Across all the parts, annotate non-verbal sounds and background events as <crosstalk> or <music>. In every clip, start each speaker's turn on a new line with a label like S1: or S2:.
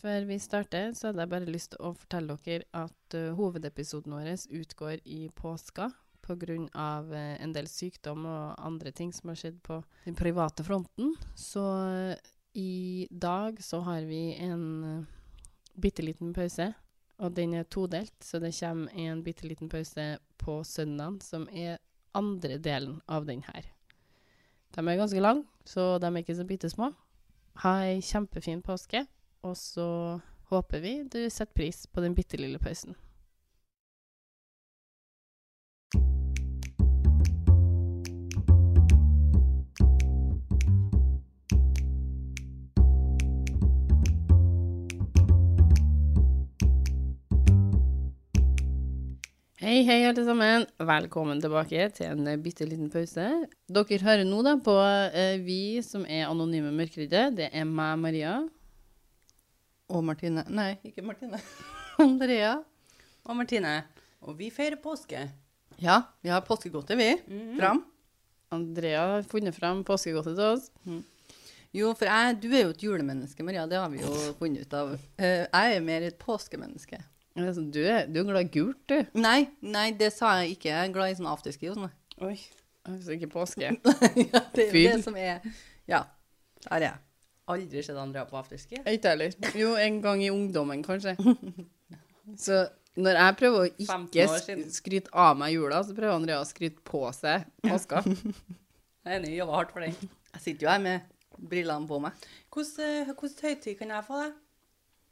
S1: Før vi starter, så hadde jeg bare lyst til å fortelle dere at eh, hovedepisoden vår utgår i påska pga. Uh, en del sykdom og andre ting som har skjedd på den private fronten. Så eh, i dag så har vi en uh, bitte liten pause, og den er todelt. Så det kommer en bitte liten pause på søndag, som er andre delen av den her. De er ganske lange, så de er ikke så bitte små. Ha ei kjempefin påske. Og så håper vi du setter pris på den bitte lille pausen. Hei, hei, alle sammen. Velkommen tilbake til en eh, bitte liten pause. Dere hører nå da på eh, vi som er Anonyme Mørkeredde. Det er meg, Maria.
S2: Og Martine. Nei, ikke Martine. <laughs> Andrea.
S3: og Martine. Og vi feirer påske.
S2: Ja, vi har påskegodter, vi. Fram.
S1: Andrea har funnet fram påskegodtet til oss.
S2: Jo, for jeg, du er jo et julemenneske, Maria. Det har vi jo funnet ut av. Eh, jeg er mer et påskemenneske.
S1: Det er sånn, Du er, du er glad i gult, du.
S2: Nei, nei, det sa jeg ikke. Jeg er glad i sånn afterski og sånn.
S1: Oi. Altså ikke påske.
S2: <laughs> ja, det er jo
S1: Fyll.
S2: det som er Ja. Der er jeg.
S3: Aldri sett Andrea på afterski.
S1: Ikke heller. Jo, en gang i ungdommen, kanskje. <laughs> Så når jeg prøver å
S3: 15
S1: ikke
S3: år
S1: sk-
S3: siden.
S1: skryte av meg jula, så prøver Andrea å skryte på seg
S2: <laughs>
S1: påska.
S3: Jeg er enig, jobba hardt for den.
S2: Jeg sitter jo her med brillene på meg.
S3: Hvordan høytid kan jeg få, da?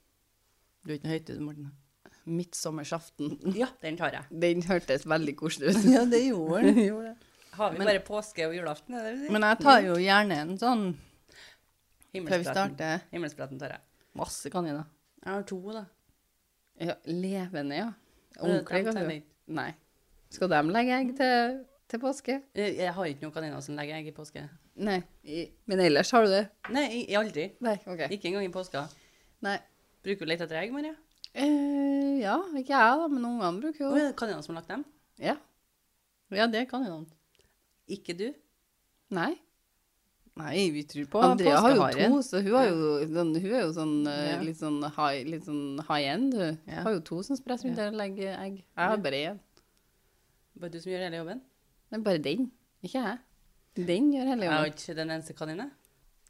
S2: Du er ikke noe høytid, Martine.
S1: Midtsommersaften.
S3: Ja, den tar jeg.
S1: Den hørtes veldig koselig ut.
S2: <laughs> Ja, det gjorde
S1: <laughs>
S2: den.
S1: Gjorde det.
S3: Har vi bare påske og julaften? Er det det?
S2: Men jeg tar jo gjerne en sånn før vi
S3: Himmelspretten.
S2: starter.
S3: Himmelspretten tar jeg.
S2: Masse kaniner.
S3: Jeg har to, da.
S1: Ja, levende, ja.
S3: Eh,
S1: Ordentlig,
S3: dem tenner
S1: kanskje.
S3: jeg ikke.
S1: Nei. Skal de legge egg til, til påske?
S3: Eh, Jeg har ikke noen kaniner som legger egg i påske.
S1: Nei. I, men ellers har du det?
S3: Nei, i- i aldri.
S1: Nei. ok.
S3: Ikke engang i påska.
S1: Nei.
S3: Bruker du å lete etter egg, Maria?
S1: Eh, ja, ikke jeg da, men ungene bruker jo
S3: Å, er det kaniner som har lagt dem?
S1: Ja.
S2: Ja, det er kaninene.
S3: Ikke du?
S1: Nei.
S2: Nei, vi tror på
S1: Andrea har jo
S2: påskeharen.
S1: to, så hun, har jo, sånn, hun er jo sånn, eh,
S2: Ja.
S1: litt sånn high, litt sånn high end. Hun
S2: Ja.
S1: har jo to som spretter rundt der og legger egg. Jeg har bare én.
S3: Bare du som gjør hele jobben?
S1: Det er bare den, ikke jeg. Den gjør hele
S3: Jeg har
S1: jobben.
S3: ikke den eneste kaninen.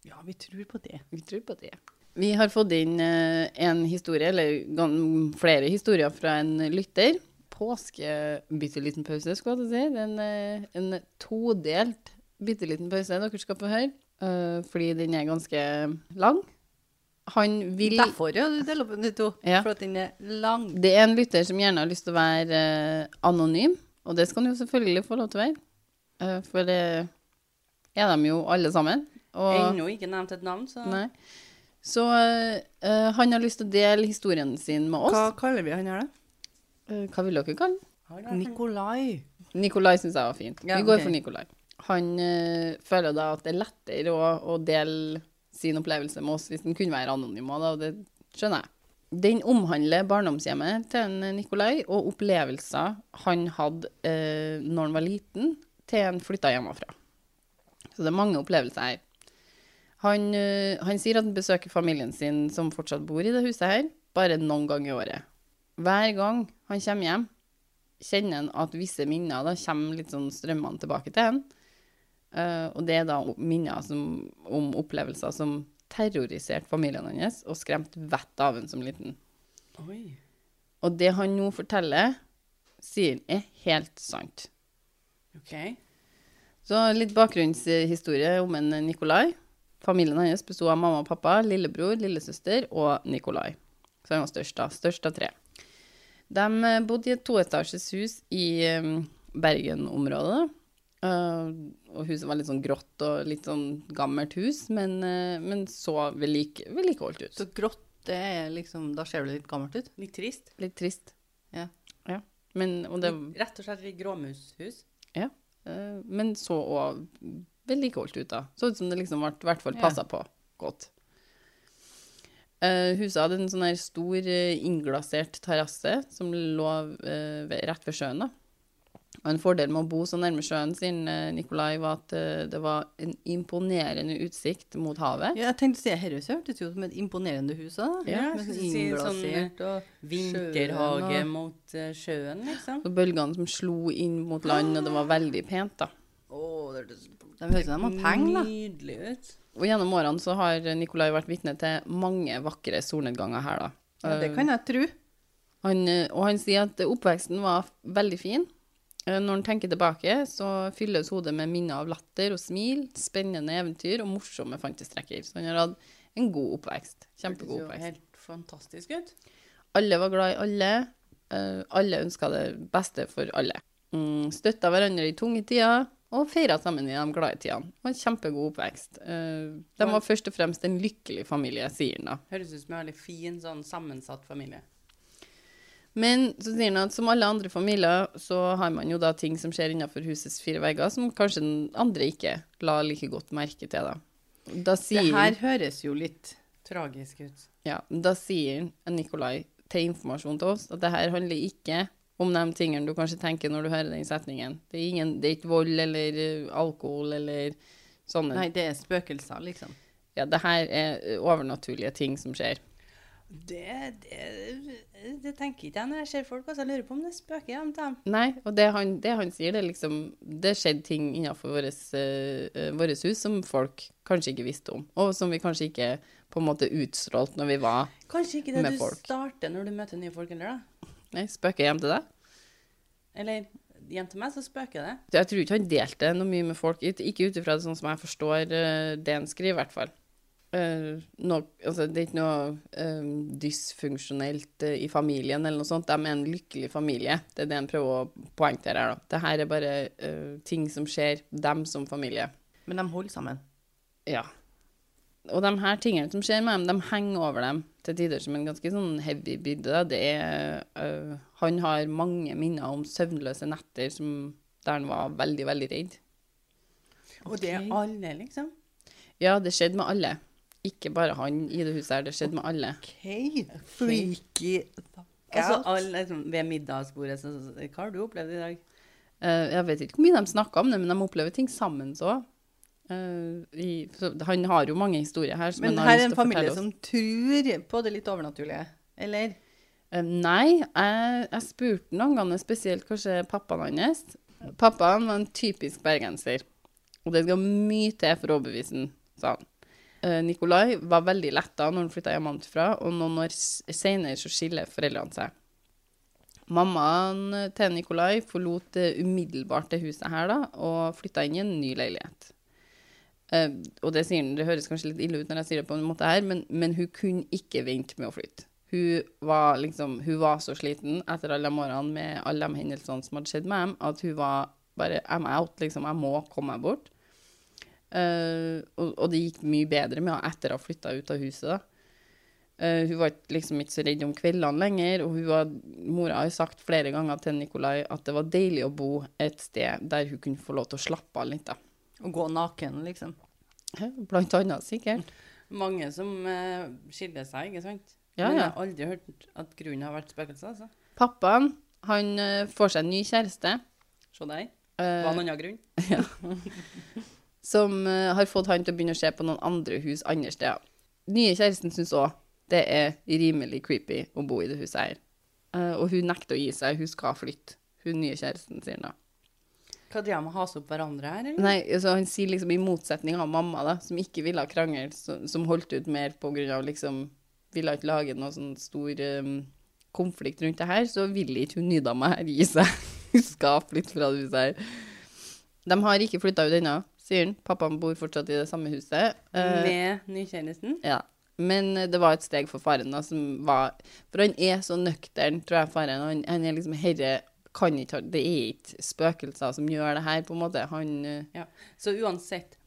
S2: Ja, vi tror på det.
S1: Vi tror på det. Vi har fått inn eh, en historie, eller gan- flere historier fra en lytter. Påske bitte liten pause, skulle jeg til å si. Det er en, eh, en todelt bitte liten pause dere skal få høre, eh, fordi den er ganske lang. Han vil
S2: Derfor ja, du deler opp den i to.
S1: Ja.
S2: For at den er lang.
S1: Det er en lytter som gjerne har lyst til å være eh, anonym, og det skal han jo selvfølgelig få lov til å være. Eh, for det er de jo alle sammen. Og,
S3: Ennå ikke nevnt et navn, så
S1: nei. Så eh, eh, han har lyst til å dele historien sin med oss. Hva,
S2: kaller vi han her, da?
S1: Hva vil dere kalle den?
S3: Har du-
S2: Nikolai.
S1: Nikolai syns jeg var fint.
S2: Ja,
S1: Vi går
S2: ok.
S1: for Nikolai. Han eh, føler da at det er lettere å, å dele sin opplevelse med oss hvis den kunne være anonym, og da, og det skjønner jeg. Den omhandler barndomshjemmet til en eh, Nikolai og opplevelser han hadde eh, når han var liten, til han flytta hjemmefra. Så det er mange opplevelser her. Han, eh, han sier at han besøker familien sin som fortsatt bor i det huset her, bare noen ganger i året. Hver gang han kommer hjem, kjenner han at visse minner da kommer litt sånn strømmene tilbake til han. Eh, og det er da minner som, om opplevelser som terroriserte familien hans og skremte vettet av han som liten.
S3: Oi.
S1: Og det han nå forteller, sier han er helt sant.
S3: OK.
S1: Så litt bakgrunnshistorie om en Nikolai. Familien hans besto av mamma og pappa, lillebror, lillesøster og Nikolai. Så han var størst, da. Størst av tre. De eh, bodde i et toetasjes hus i eh, Bergen-området. Eh, og huset var litt sånn grått og litt sånn gammelt hus, men, eh, men så vedlik- vedlikeholdt ut.
S2: Så grått, det er liksom Da ser det litt gammelt ut.
S3: Litt trist.
S1: Litt trist.
S2: Ja.
S1: Ja. Men, og det,
S3: Litt- Rett og slett litt gråmushus.
S1: ja. Eh, men så òg vedlikeholdt ut, da. Så ut som det liksom ble i hvert fall
S2: Ja.
S1: passa på godt. Eh, huset hadde en sånn her stor eh, innglasert terrasse som lå eh, ved- rett ved sjøen. da. Og en fordel med å bo så nærme sjøen sin, eh, Nikolai, var at eh, det var en imponerende utsikt mot havet.
S2: Ja, jeg tenkte å si herre, så hørtes det ut som et imponerende hus. Da.
S1: Ja,
S2: Med
S3: jeg
S2: sånn
S3: skulle si sånn,
S2: innglasert og
S3: Vinterhage
S2: sjøen og-
S3: mot eh, sjøen, liksom.
S1: Så bølgene som slo inn mot land, og det var veldig pent, da.
S2: Å, det hørtes De høres ut som de har penger, da.
S3: Nydelig ut.
S1: Og gjennom årene så har eh, Nikolai vært vitne til mange vakre solnedganger her, da.
S2: Ja, det kan jeg tro.
S1: Han, eh, og han sier at oppveksten var f- veldig fin. Eh, Når han tenker tilbake, så fylles hodet med minner av latter og smil, spennende eventyr og morsomme fantestrekker. Så han har hatt en god oppvekst. Kjempegod
S3: Hørtes jo
S1: oppvekst.
S3: Helt fantastisk ut.
S1: Alle var glad i alle. eh, Alle ønska det beste for alle. Mm, Støtta hverandre i tunge tider og feira sammen i de glade tidene. Og en kjempegod oppvekst. Eh, De var først og fremst en lykkelig familie, sier han da.
S3: Høres ut som en veldig fin, sånn sammensatt familie.
S1: Men så sier han at som alle andre familier, så har man jo da ting som skjer innenfor husets fire vegger, som kanskje den andre ikke la like godt merke til, da. Da
S2: Det
S1: sier,
S2: her høres jo litt
S3: Tragisk ut.
S1: ja, da sier Nikolai til informasjon til oss at det her handler ikke om de tingene du kanskje tenker når du hører den setningen. Det er, ingen, det er ikke vold eller eh, alkohol eller sånne.
S2: Nei, det er spøkelser, liksom.
S1: Ja, det her er eh, overnaturlige ting som skjer.
S3: Det, det, det tenker ikke jeg når jeg ser folk. Altså, jeg lurer på om det spøker hjemme til dem.
S1: Nei, og det han, det han sier, det er liksom Det skjedde ting innenfor våres, eh, eh, våres hus som folk kanskje ikke visste om, og som vi kanskje ikke på en måte utstrålte når vi var
S3: Kanskje ikke det
S1: Med
S3: du
S1: folk.
S3: starter når du møter nye folk heller, da.
S1: Nei, spøker hjem til deg.
S3: Eller hjem til meg, så spøker det.
S1: Jeg tror ikke han delte noe mye med folk, ut- ikke ut ifra det sånn som jeg forstår eh, det han skriver, i hvert fall. Eh, no, altså, det er ikke noe eh, dysfunksjonelt eh, i familien eller noe sånt. De er en lykkelig familie. Det er det han prøver å poengtere her. da. Det her er bare eh, ting som skjer dem som familie.
S2: Men de holder sammen.
S1: Ja. Og de her tingene som skjer med dem, de henger over dem til tider som en ganske sånn heavy byrde. da. Det er, øh, han har mange minner om søvnløse netter som, der han var veldig, veldig redd.
S3: Og det er
S2: Ok.
S3: alle, liksom.
S1: Ja, det skjedde med alle. Ikke bare han i det huset her, det skjedde med alle.
S2: OK. Freaky.
S3: Altså, alle, liksom, ved middagsbordet så, så, så, Hva har du opplevd i dag?
S1: Eh, jeg vet ikke hvor mye de snakker om det, men de opplever ting sammen så. Eh, i, så han har jo mange historier her. som
S2: Men
S1: han har
S2: her er
S1: lyst til å fortelle
S2: en familie
S1: oss.
S2: som tror på det litt overnaturlige, eller?
S1: Eh, Nei, jeg, jeg spurte noen ganger spesielt kanskje pappaen hans. Pappaen var en typisk bergenser, og det skal mye til for å overbevise han, sa han. Eh, Nikolai var veldig letta når han flytta hjemmefra, og noen år s- senere så skiller foreldrene seg. Mammaen til Nikolai forlot eh, umiddelbart det huset her da, og flytta inn i en ny leilighet. Eh, og det, sier, han- det høres kanskje litt ille ut når jeg sier det på en måte her, men, men hun kunne ikke vente med å flytte. Hun var, liksom, hun var så sliten etter alle de årene med alle de hendelsene som hadde skjedd med dem, at hun var bare I'm out, liksom. Jeg må komme meg bort. Eh, og, og det gikk mye bedre med henne etter å ha flytta ut av huset. da. Eh, hun var ikke- liksom ikke så redd om kveldene lenger, og hun var, mora har jo sagt flere ganger til Nikolai at det var deilig å bo et sted der hun kunne få lov til å slappe av litt. da.
S2: Å gå naken, liksom.
S1: Blant annet, sikkert.
S3: Mange som eh, skiller seg, ikke sant?
S1: Ja,
S3: Men
S1: ja.
S3: jeg har aldri hørt at grunnen har vært spøkelser, altså.
S1: Pappaen, han eh, får seg en ny kjæreste
S3: Se der.
S1: eh,
S3: Var det en annen grunn?
S1: som eh, har fått han til å begynne å se på noen andre hus andre steder. Nye kjæresten syns òg det er rimelig creepy å bo i det huset her. Eh, og hun nekter å gi seg, hun skal flytte. Hun nye kjæresten sier da.
S3: Hva driver de med å hase opp hverandre her, eller?
S1: Nei, altså han sier liksom i motsetning av mamma da, som ikke ville ha krangel, som, som holdt ut mer på grunn av liksom, ville ikke lage noe sånn stor eh, konflikt rundt det her, så ville ikke hun nydama her gi seg. <laughs> Hun skal flytte fra det huset her. De har ikke flytta ut ennå, sier han. Pappaen bor fortsatt i det samme huset.
S3: <laughs>
S1: Eh,
S3: Med nykjennelsen?
S1: ja. Men eh, det var et steg for faren, da, som var For han er så nøktern, tror jeg, faren. Han, han er liksom Herre, kan ikke ha Det er ikke spøkelser som gjør det her, på en måte. Han eh,
S3: Ja. Så uansett,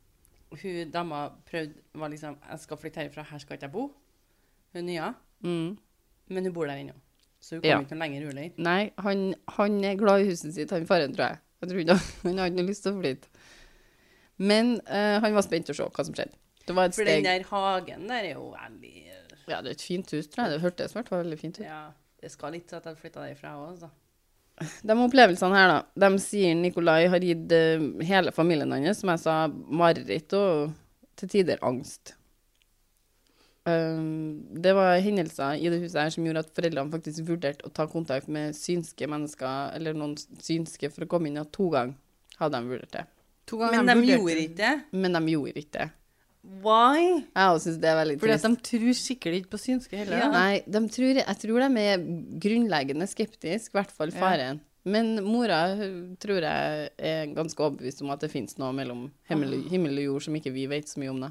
S3: hun dama prøvde, var liksom, jeg skal flytte herifra, her skal ikke jeg bo. Hun nye,
S1: mm.
S3: men hun bor der ennå. Så hun
S1: Ja.
S3: kommer ikke noe lenger ulig.
S1: Nei, han, han er glad i huset sitt, han faren, tror jeg. Jeg tror ikke han- Han har ikke noe lyst til å flytte. Men eh, han var spent å se hva som skjedde. Det var et
S3: For den
S1: steg
S3: der hagen der er jo veldig,
S1: Ja, det er et fint hus, tror jeg. Det hørtes i hvert fall veldig fint ut.
S3: ja, det skal litt til at jeg flytter derifra også, altså. da.
S1: De opplevelsene her, da. De sier Nikolai har gitt eh, hele familien hans, som jeg sa, mareritt og til tider angst. Um, det var hendelser i det huset her som gjorde at foreldrene faktisk vurderte å ta kontakt med synske mennesker, eller noen synske, for å komme inn ja, to ganger. Hadde de vurdert det.
S2: To
S3: Men de gjorde ikke det.
S1: Men de gjorde ikke det.
S3: Why?
S1: Jeg også synes det er veldig
S2: Fordi
S1: trist.
S2: at de tror sikkert ikke på synske heller.
S3: Ja.
S2: da.
S1: Nei, de tror, jeg tror de er grunnleggende skeptiske, i hvert fall faren. Men mora hun, tror jeg er ganske overbevist om at det finnes noe mellom himmel,
S2: Ah.
S1: himmel og jord som ikke vi vet så mye om. da.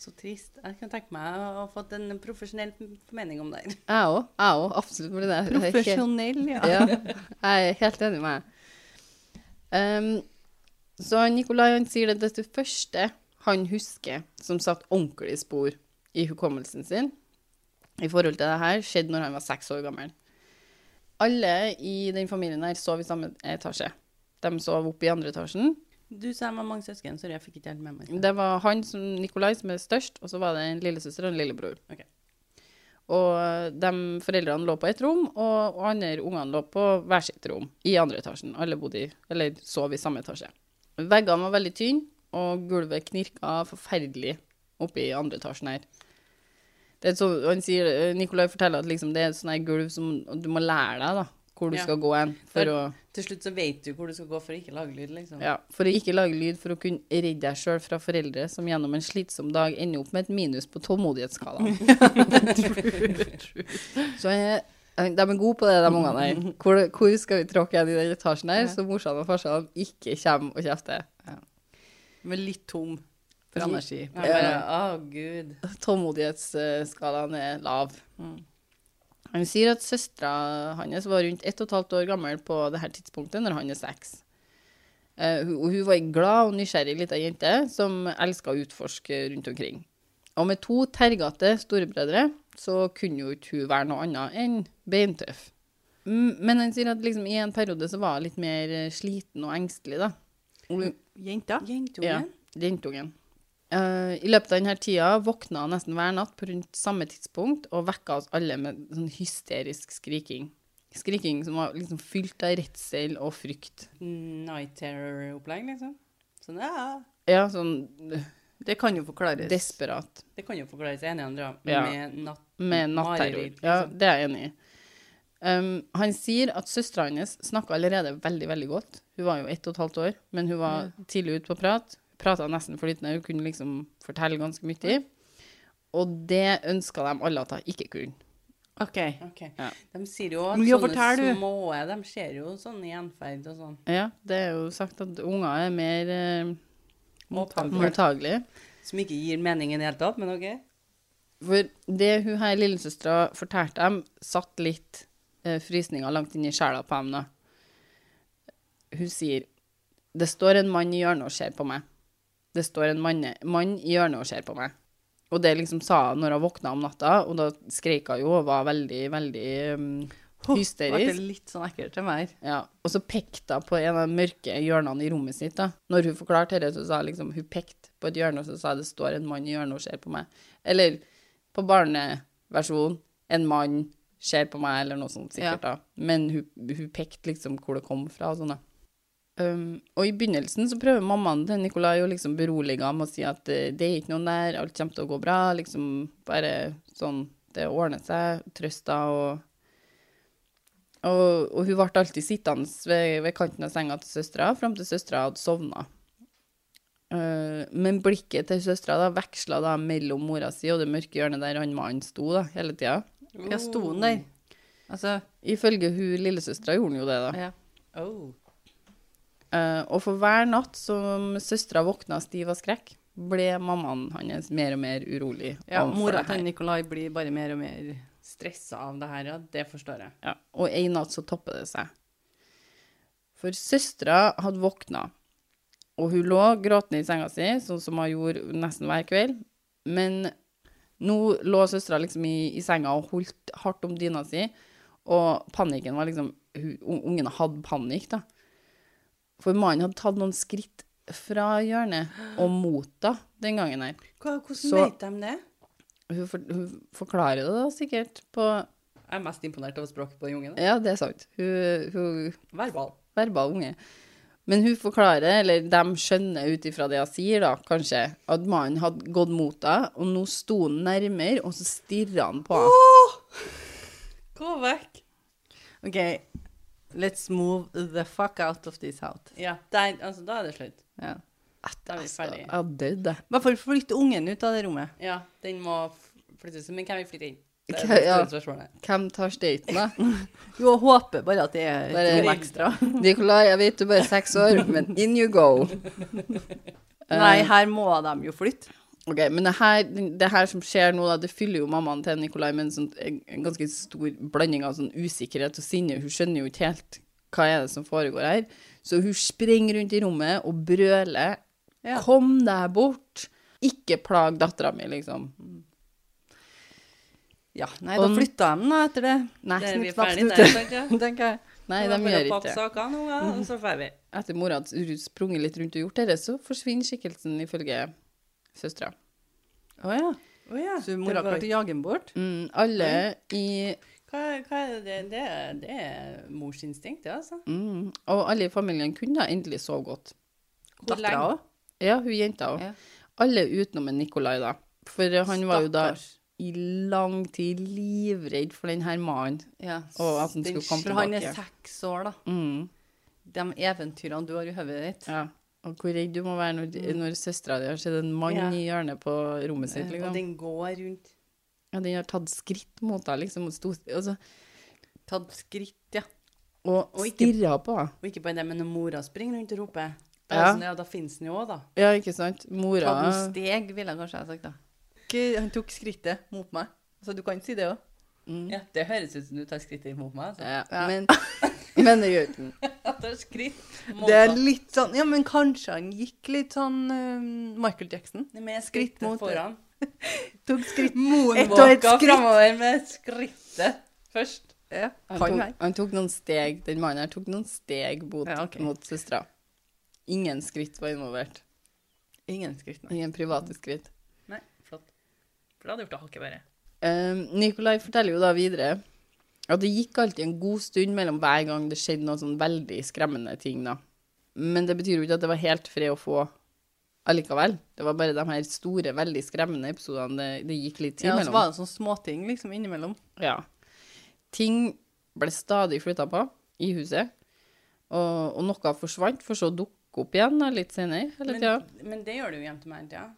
S3: Så trist. Jeg kan tenke meg å ha fått en profesjonell mening om det. her.
S1: Jeg òg. Jeg òg, absolutt. Fordi det, det er helt-
S2: Profesjonell, ja.
S1: Ja, jeg er helt enig med deg. Um, så Nikolai han sier det, det er det første han husker som satt ordentlig spor i hukommelsen sin i forhold til det her, skjedde når han var seks år gammel. Alle i den familien her sov i samme etasje. De sov oppe i andre etasjen.
S3: Du sa jeg var mange søsken, sorry, jeg fikk ikke helt med meg.
S1: Det var han som Nikolai som er størst, og så var det en lillesøster og en lillebror.
S3: Ok.
S1: Og de foreldrene lå på ett rom, og og andre ungene lå på hver sitt rom i andre etasjen. Alle bodde i, eller sov i samme etasje. Veggene var veldig tynne, og gulvet knirka forferdelig oppe i andre etasjen her. Det er så, han sier, eh, Nikolai forteller at liksom det er et sånt her gulv som du må lære deg da, hvor du
S3: Ja.
S1: skal gå hen
S3: Det
S1: for
S3: er-
S1: å...
S3: Til slutt så vet du hvor du skal gå for å ikke lage lyd, liksom.
S1: Ja, for å ikke lage lyd for å kunne redde deg sjøl fra foreldre som gjennom en slitsom dag ender opp med et minus på tålmodighetsskalaen. så jeg, de er gode på det, de ungene her. Hvor, hvor skal vi tråkke igjen i den etasjen her, så morsan og farsan ikke kommer og kjefter?
S2: Men litt tom for
S1: Ja.
S2: energi.
S3: Jeg bare, Å, gud.
S1: Tålmodighetsskalaen er lav. Mm. Han sier at søstera hans var rundt ett og et halvt år gammel på det her tidspunktet, når han er seks. Eh, hun, og hun var ei glad og nysgjerrig lita jente som elska å utforske rundt omkring. Og med to tergete storebrødre så kunne jo ikke hun være noe annet enn beintøff. Mm, Men han sier at liksom, i en periode så var hun litt mer eh, sliten og engstelig, da. Og hun-
S2: Jenta?
S1: ja,
S3: Jentungen?
S1: jentungen. Eh, I løpet av denne tida våkna han nesten hver natt på rundt samme tidspunkt og vekka oss alle med sånn hysterisk skriking. Skriking som var liksom fylt av redsel og frykt.
S3: Night terror-opplegg, liksom. Sånn, ja.
S1: Ja, sånn eh,
S2: Det kan jo forklares.
S1: desperat.
S3: Det kan jo forklares en i andre,
S1: Ja.
S3: med natt...
S1: Med natterror.
S3: Mareritt,
S1: Ja,
S3: liksom.
S1: det er jeg enig i. Um, han sier at søstera hans snakka allerede veldig, veldig godt. Hun var jo ett og et halvt år, men hun var tidlig ute på prat. Prata nesten flytende, hun kunne liksom fortelle ganske mye. Og det ønska de alle at hun ikke kunne.
S2: OK.
S3: Ok.
S1: Ja.
S3: De sier jo at
S2: Mye å
S3: sånne
S2: fortelle, du.
S3: små, de ser jo sånn i gjenferd og sånn.
S1: Ja, det er jo sagt at unger er mer eh,
S3: Mottaker.
S1: mottagelige.
S3: Som ikke gir mening i det hele tatt, men ok.
S1: For det hun her lillesøstera fortalte dem, satt litt eh, frysninger langt inn i sjela på dem. da. Hun sier Det står en mann i hjørnet og ser på meg. Det står en manne, mann i hjørnet og ser på meg. Og det liksom sa hun når hun våkna om natta, og da skreik hun jo og var veldig, veldig um,
S2: Ho, Ble det
S1: hysterisk.
S2: litt sånn ekkelt til meg?
S1: Ja, og så pekte hun på en av de mørke hjørnene i rommet sitt. da. Når hun forklarte dette, så sa hun liksom, hun pekte på et hjørne og så sa det står en mann i hjørnet og ser på meg. Eller på barneversjon en mann ser på meg, eller noe sånt sikkert. da. Men hun, hun pekte liksom hvor det kom fra. og sånn da. Um, og i begynnelsen så prøver mammaen til Nikolai å liksom berolige ham og si at eh, det er ikke noen der, alt kommer til å gå bra. liksom Bare sånn, det ordner seg. Trøsta og og, og hun ble alltid sittende ved, ved kanten av senga til søstera fram til søstera hadde sovna. Eh, men blikket til søstera veksla da mellom mora si og det mørke hjørnet der han mannen sto da, hele tida.
S2: Ja, sto den der? Altså
S1: Ifølge hun lillesøstera gjorde han jo det, da.
S2: ja.
S3: Oh.
S1: Eh, og for hver natt som søstera våkna stiv av skrekk, ble mammaen hans mer og mer urolig.
S2: ja
S1: overfor
S2: mora
S1: det her.
S2: til Nikolai blir bare mer og mer
S3: Stressa av det her, ja. Det forstår jeg.
S1: Ja, og en natt så topper det seg. For søstera hadde våkna, og hun lå gråtende i senga si, sånn som hun gjorde nesten hver kveld. Men nå lå søstera liksom i, i senga og holdt hardt om dyna si, og panikken var liksom hun, un- Ungene hadde panikk, da. For mannen hadde tatt noen skritt fra hjørnet og mot henne den gangen her.
S3: Hva, hvordan
S1: Så-
S3: vet de det?
S1: Hun, for, hun forklarer det da sikkert på
S3: Jeg er mest imponert over språket på den ungen.
S1: Ja, det er sant. Hun, hun
S3: Verbal.
S1: verbal unge. Men hun forklarer, eller de skjønner ut ifra det hun sier, da, kanskje, at mannen hadde gått mot henne, og nå sto han nærmere, og så stirra han på henne.
S3: Gå vekk!
S2: OK, let's move the fuck out of this house.
S3: Ja, der, altså, da er det slutt.
S2: Ja.
S3: Da er vi
S1: Altså,
S3: ferdig.
S1: Jeg hadde dødd, jeg.
S2: I hvert fall flytte ungen ut av det rommet.
S3: Ja, den må f- flyttes ut. Men kan vi flytte inn? Det
S1: Ok,
S3: er det
S1: ja.
S3: store spørsmålet.
S1: Hvem tar staten, da?
S2: Jo, jeg håper bare at det er
S1: Bare-
S2: to ekstra.
S1: Nicolai, jeg vet du er bare seks år, men in you go.
S3: Eh.
S2: Nei, her må de jo flytte.
S1: Ok, men det her, det her som skjer nå, da, det fyller jo mammaen til Nikolai med en, sånn, en ganske stor blanding av sånn usikkerhet og sinne. Hun skjønner jo ikke helt hva er det som foregår her. Så hun springer rundt i rommet og brøler.
S2: Ja.
S1: Kom deg bort! Ikke plag dattera mi, liksom.
S2: Ja, nei, da
S1: Og-
S2: flytta de da etter det,
S1: Nei,
S3: Det er vi
S1: knut,
S3: ferdig
S1: knut,
S3: der, sant? ja?
S2: <laughs> tenker jeg.
S1: Nei, de
S3: Det var bare å
S1: gjør
S3: pakke
S1: ikke det.
S3: sakene
S1: <laughs>
S3: nå, ja, og så ferdig.
S1: Etter mora hadde sprunget litt rundt og gjort dette, så forsvinner skikkelsen ifølge søstera.
S2: Å ja.
S3: Å ja.
S2: Så mora
S3: det var-
S2: klarte å jage dem bort?
S1: Mm, alle i
S3: Hva, hva er det? Det er, det er mors instinkt, det, altså.
S1: mm, Og alle i familien kunne da endelig sove godt.
S3: Hvor
S2: Dattera
S3: lenge?
S2: òg?
S1: Ja, hun jenta òg.
S2: Ja.
S1: Alle utenom en Nikolai, da. For han var jo da
S2: Stakkars.
S1: i lang tid livredd for den her mannen.
S2: Ja.
S1: Og at den
S2: Den-
S1: skulle komme
S2: For han er
S1: tilbake.
S2: seks år, da.
S1: Mm,
S2: De eventyrene du har i hodet ditt.
S1: ja. Og hvor redd du må være når, når søstera di har sett en mann
S3: Ja.
S1: i hjørnet på rommet
S2: Eh,
S1: sitt.
S3: Og
S1: Liksom.
S3: den går rundt.
S1: Ja, den har tatt skritt mot deg, liksom, og, sto, altså,
S2: Tatt skritt, ja.
S1: og,
S3: Og ikke-
S1: stirra på henne.
S3: Og ikke bare det, men når mora springer rundt og roper Da,
S1: Ja.
S3: ja. sånn, ja, da finnes den jo òg, da.
S1: Ja, ikke sant? Mora
S2: Tatt noen steg, ville jeg kanskje ha sagt da. Ikke- Han tok skrittet mot meg. Så du kan si det òg.
S1: mm.
S3: Ja, det høres ut som du tar skrittet imot meg. Altså.
S1: ja, Men, men det gjør ikke den.
S3: <laughs> Jeg tar skritt mot
S2: Det er
S3: deg.
S2: litt sånn Ja, men kanskje han gikk litt sånn eh, Michael Jackson.
S3: Nei, men jeg
S2: skritt
S3: skrittet
S2: mot det.
S3: foran.
S2: Tok skritt <laughs>
S3: Moonwalka
S2: og et skritt.
S3: framover med skrittet først.
S2: ja,
S1: Han
S2: Kan
S1: tok,
S2: være.
S1: han tok noen steg, den mannen her tok noen steg mot,
S2: Ja, ok.
S1: mot søstera. Ingen skritt var involvert.
S2: Ingen skritt, nei.
S1: Ingen private skritt.
S3: Nei, flott. For da hadde jeg gjort det hakket verre.
S1: Um, Nikolai forteller jo da videre at det gikk alltid en god stund mellom hver gang det skjedde noen sånn veldig skremmende ting, da. Men det betyr jo ikke at det var helt fred å få allikevel. Det var bare de her store, veldig skremmende episodene det, det gikk litt tid
S2: Ja, og så
S1: mellom.
S2: var det sånne småting liksom innimellom.
S1: Ja. Ting ble stadig flytta på i huset, og, og noe forsvant, for så å dukke opp igjen da, litt senere. Hele
S3: Men,
S1: tida.
S3: men det gjør du jo hjem til meg hele tida.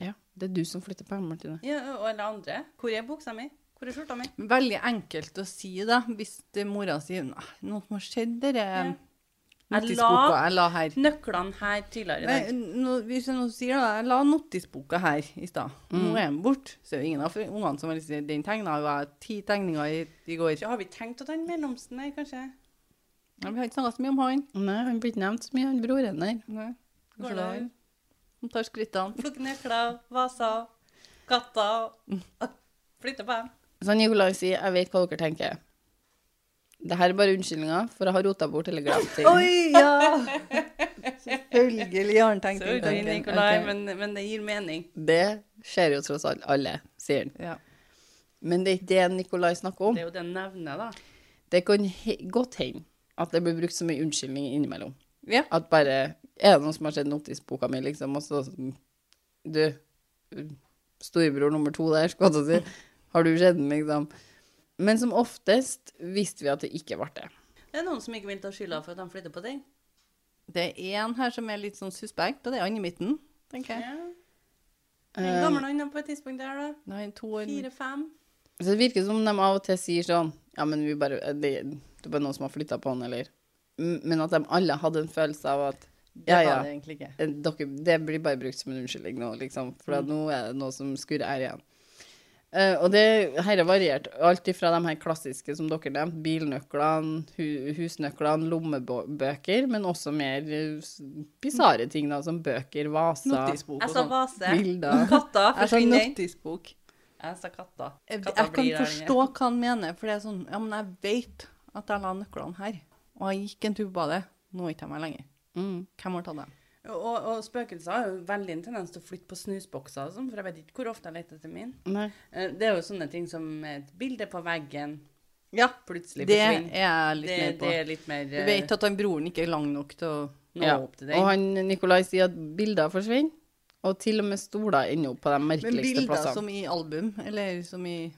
S1: Ja, det er du som flytter på, Martine.
S3: Ja, og alle andre. Hvor er buksa mi? Hvor er skjorta mi?
S2: Veldig enkelt å si, da, hvis det mora sier «Nei, noe som har skjedd, dere
S3: Ja. Jeg
S2: notisboka
S3: la
S2: jeg la her.
S3: nøklene her tidligere i
S2: Nei,
S3: dag.
S2: nå, hvis jeg nå sier da, jeg la notisboka her i stad, nå er den borte. Så er det ingen av ungene som har lyst til den tegna. Det var ti tegninger i, i går.
S3: Ja, har vi tenkt å ta den mellomsten her, kanskje?
S2: Ja, Vi har ikke snakka så mye om han.
S1: Nei, han blir ikke nevnt så mye, han broren der.
S2: Nei.
S3: Går det an?
S2: Han tar <laughs> skrittene.
S3: Plukke nøkler, vaser, katter Flytte på dem.
S1: Så Nikolai sier 'jeg vet hva dere tenker'. Det her er bare unnskyldninger, for jeg har rota bort eller glemt ting.
S2: Oi, ja! Selvfølgelig har han tenkt
S3: Sorry,
S2: tanken.
S3: Nikolai,
S2: Ok.
S3: men, men det gir mening.
S1: Det skjer jo tross alt alle, sier han.
S2: ja.
S1: Men det er ikke det Nikolai snakker om.
S3: Det er jo det nevnet, da.
S1: Det kan he godt hende at det blir brukt som en unnskyldning innimellom.
S2: ja.
S1: At bare 'Er det noe som har skjedd i notisboka mi', liksom, og så Du, storebror nummer to der, skulle jeg til å si. Har du sett den, liksom? Men som oftest visste vi at det ikke ble det.
S3: Det er noen som ikke vil ta skylda for at de flytter på ting.
S2: Det er en her som er litt sånn suspekt, og det er han i midten. tenker jeg.
S3: Ja. Hvor gammel er han på et tidspunkt der, da?
S2: Nå er han to år.
S3: Fire-fem?
S1: Så det virker som de av og til sier sånn Ja, men vi bare Det, det er bare noen som har flytta på han, eller M- Men at de alle hadde en følelse av at
S2: Det
S1: Ja,
S2: var
S1: ja.
S2: det Mm. egentlig ikke.
S1: eh, Dere, det blir bare brukt som en unnskyldning nå, liksom. For at nå er det noe som skurrer her igjen. Eh, og det her er variert. Alt ifra de her klassiske som dere nevnte, bilnøklene, hu husnøklene, lommebøker, men også mer eh, s- bisarre ting, da, som bøker, vaser,
S2: Notisbok
S3: Jeg
S2: og
S3: sa
S2: sånn.
S3: vase.
S1: bilder
S3: Katter
S2: Jeg sa
S3: forsvinner.
S2: notisbok.
S3: Jeg sa katter.
S2: Jeg,
S3: Katter
S2: jeg kan
S3: blir der
S2: forstå hva han mener, for det er sånn Ja, men jeg vet at jeg la nøklene her, og jeg gikk en tur på badet. Nå er ikke jeg med lenger.
S1: Mm.
S2: Hvem har tatt dem?
S3: lenger. Og, og spøkelser har jo veldig en tendens til å flytte på snusbokser og sånn, for jeg vet ikke hvor ofte jeg leter etter min.
S1: Nei.
S3: Eh, Det er jo sånne ting som et bilde på veggen
S2: Ja,
S3: plutselig
S2: det er
S3: forsvinner.
S2: jeg
S3: Det,
S2: litt mer på.
S3: det er litt mer eh,
S2: Du vet at han broren ikke er lang nok til å
S3: nå
S1: Ja.
S3: opp til deg.
S1: Og han Nikolai sier at bilder forsvinner, og til og med stoler ender opp på de
S2: Men
S1: merkeligste
S2: bilder
S1: plassene.
S2: som i album, eller som i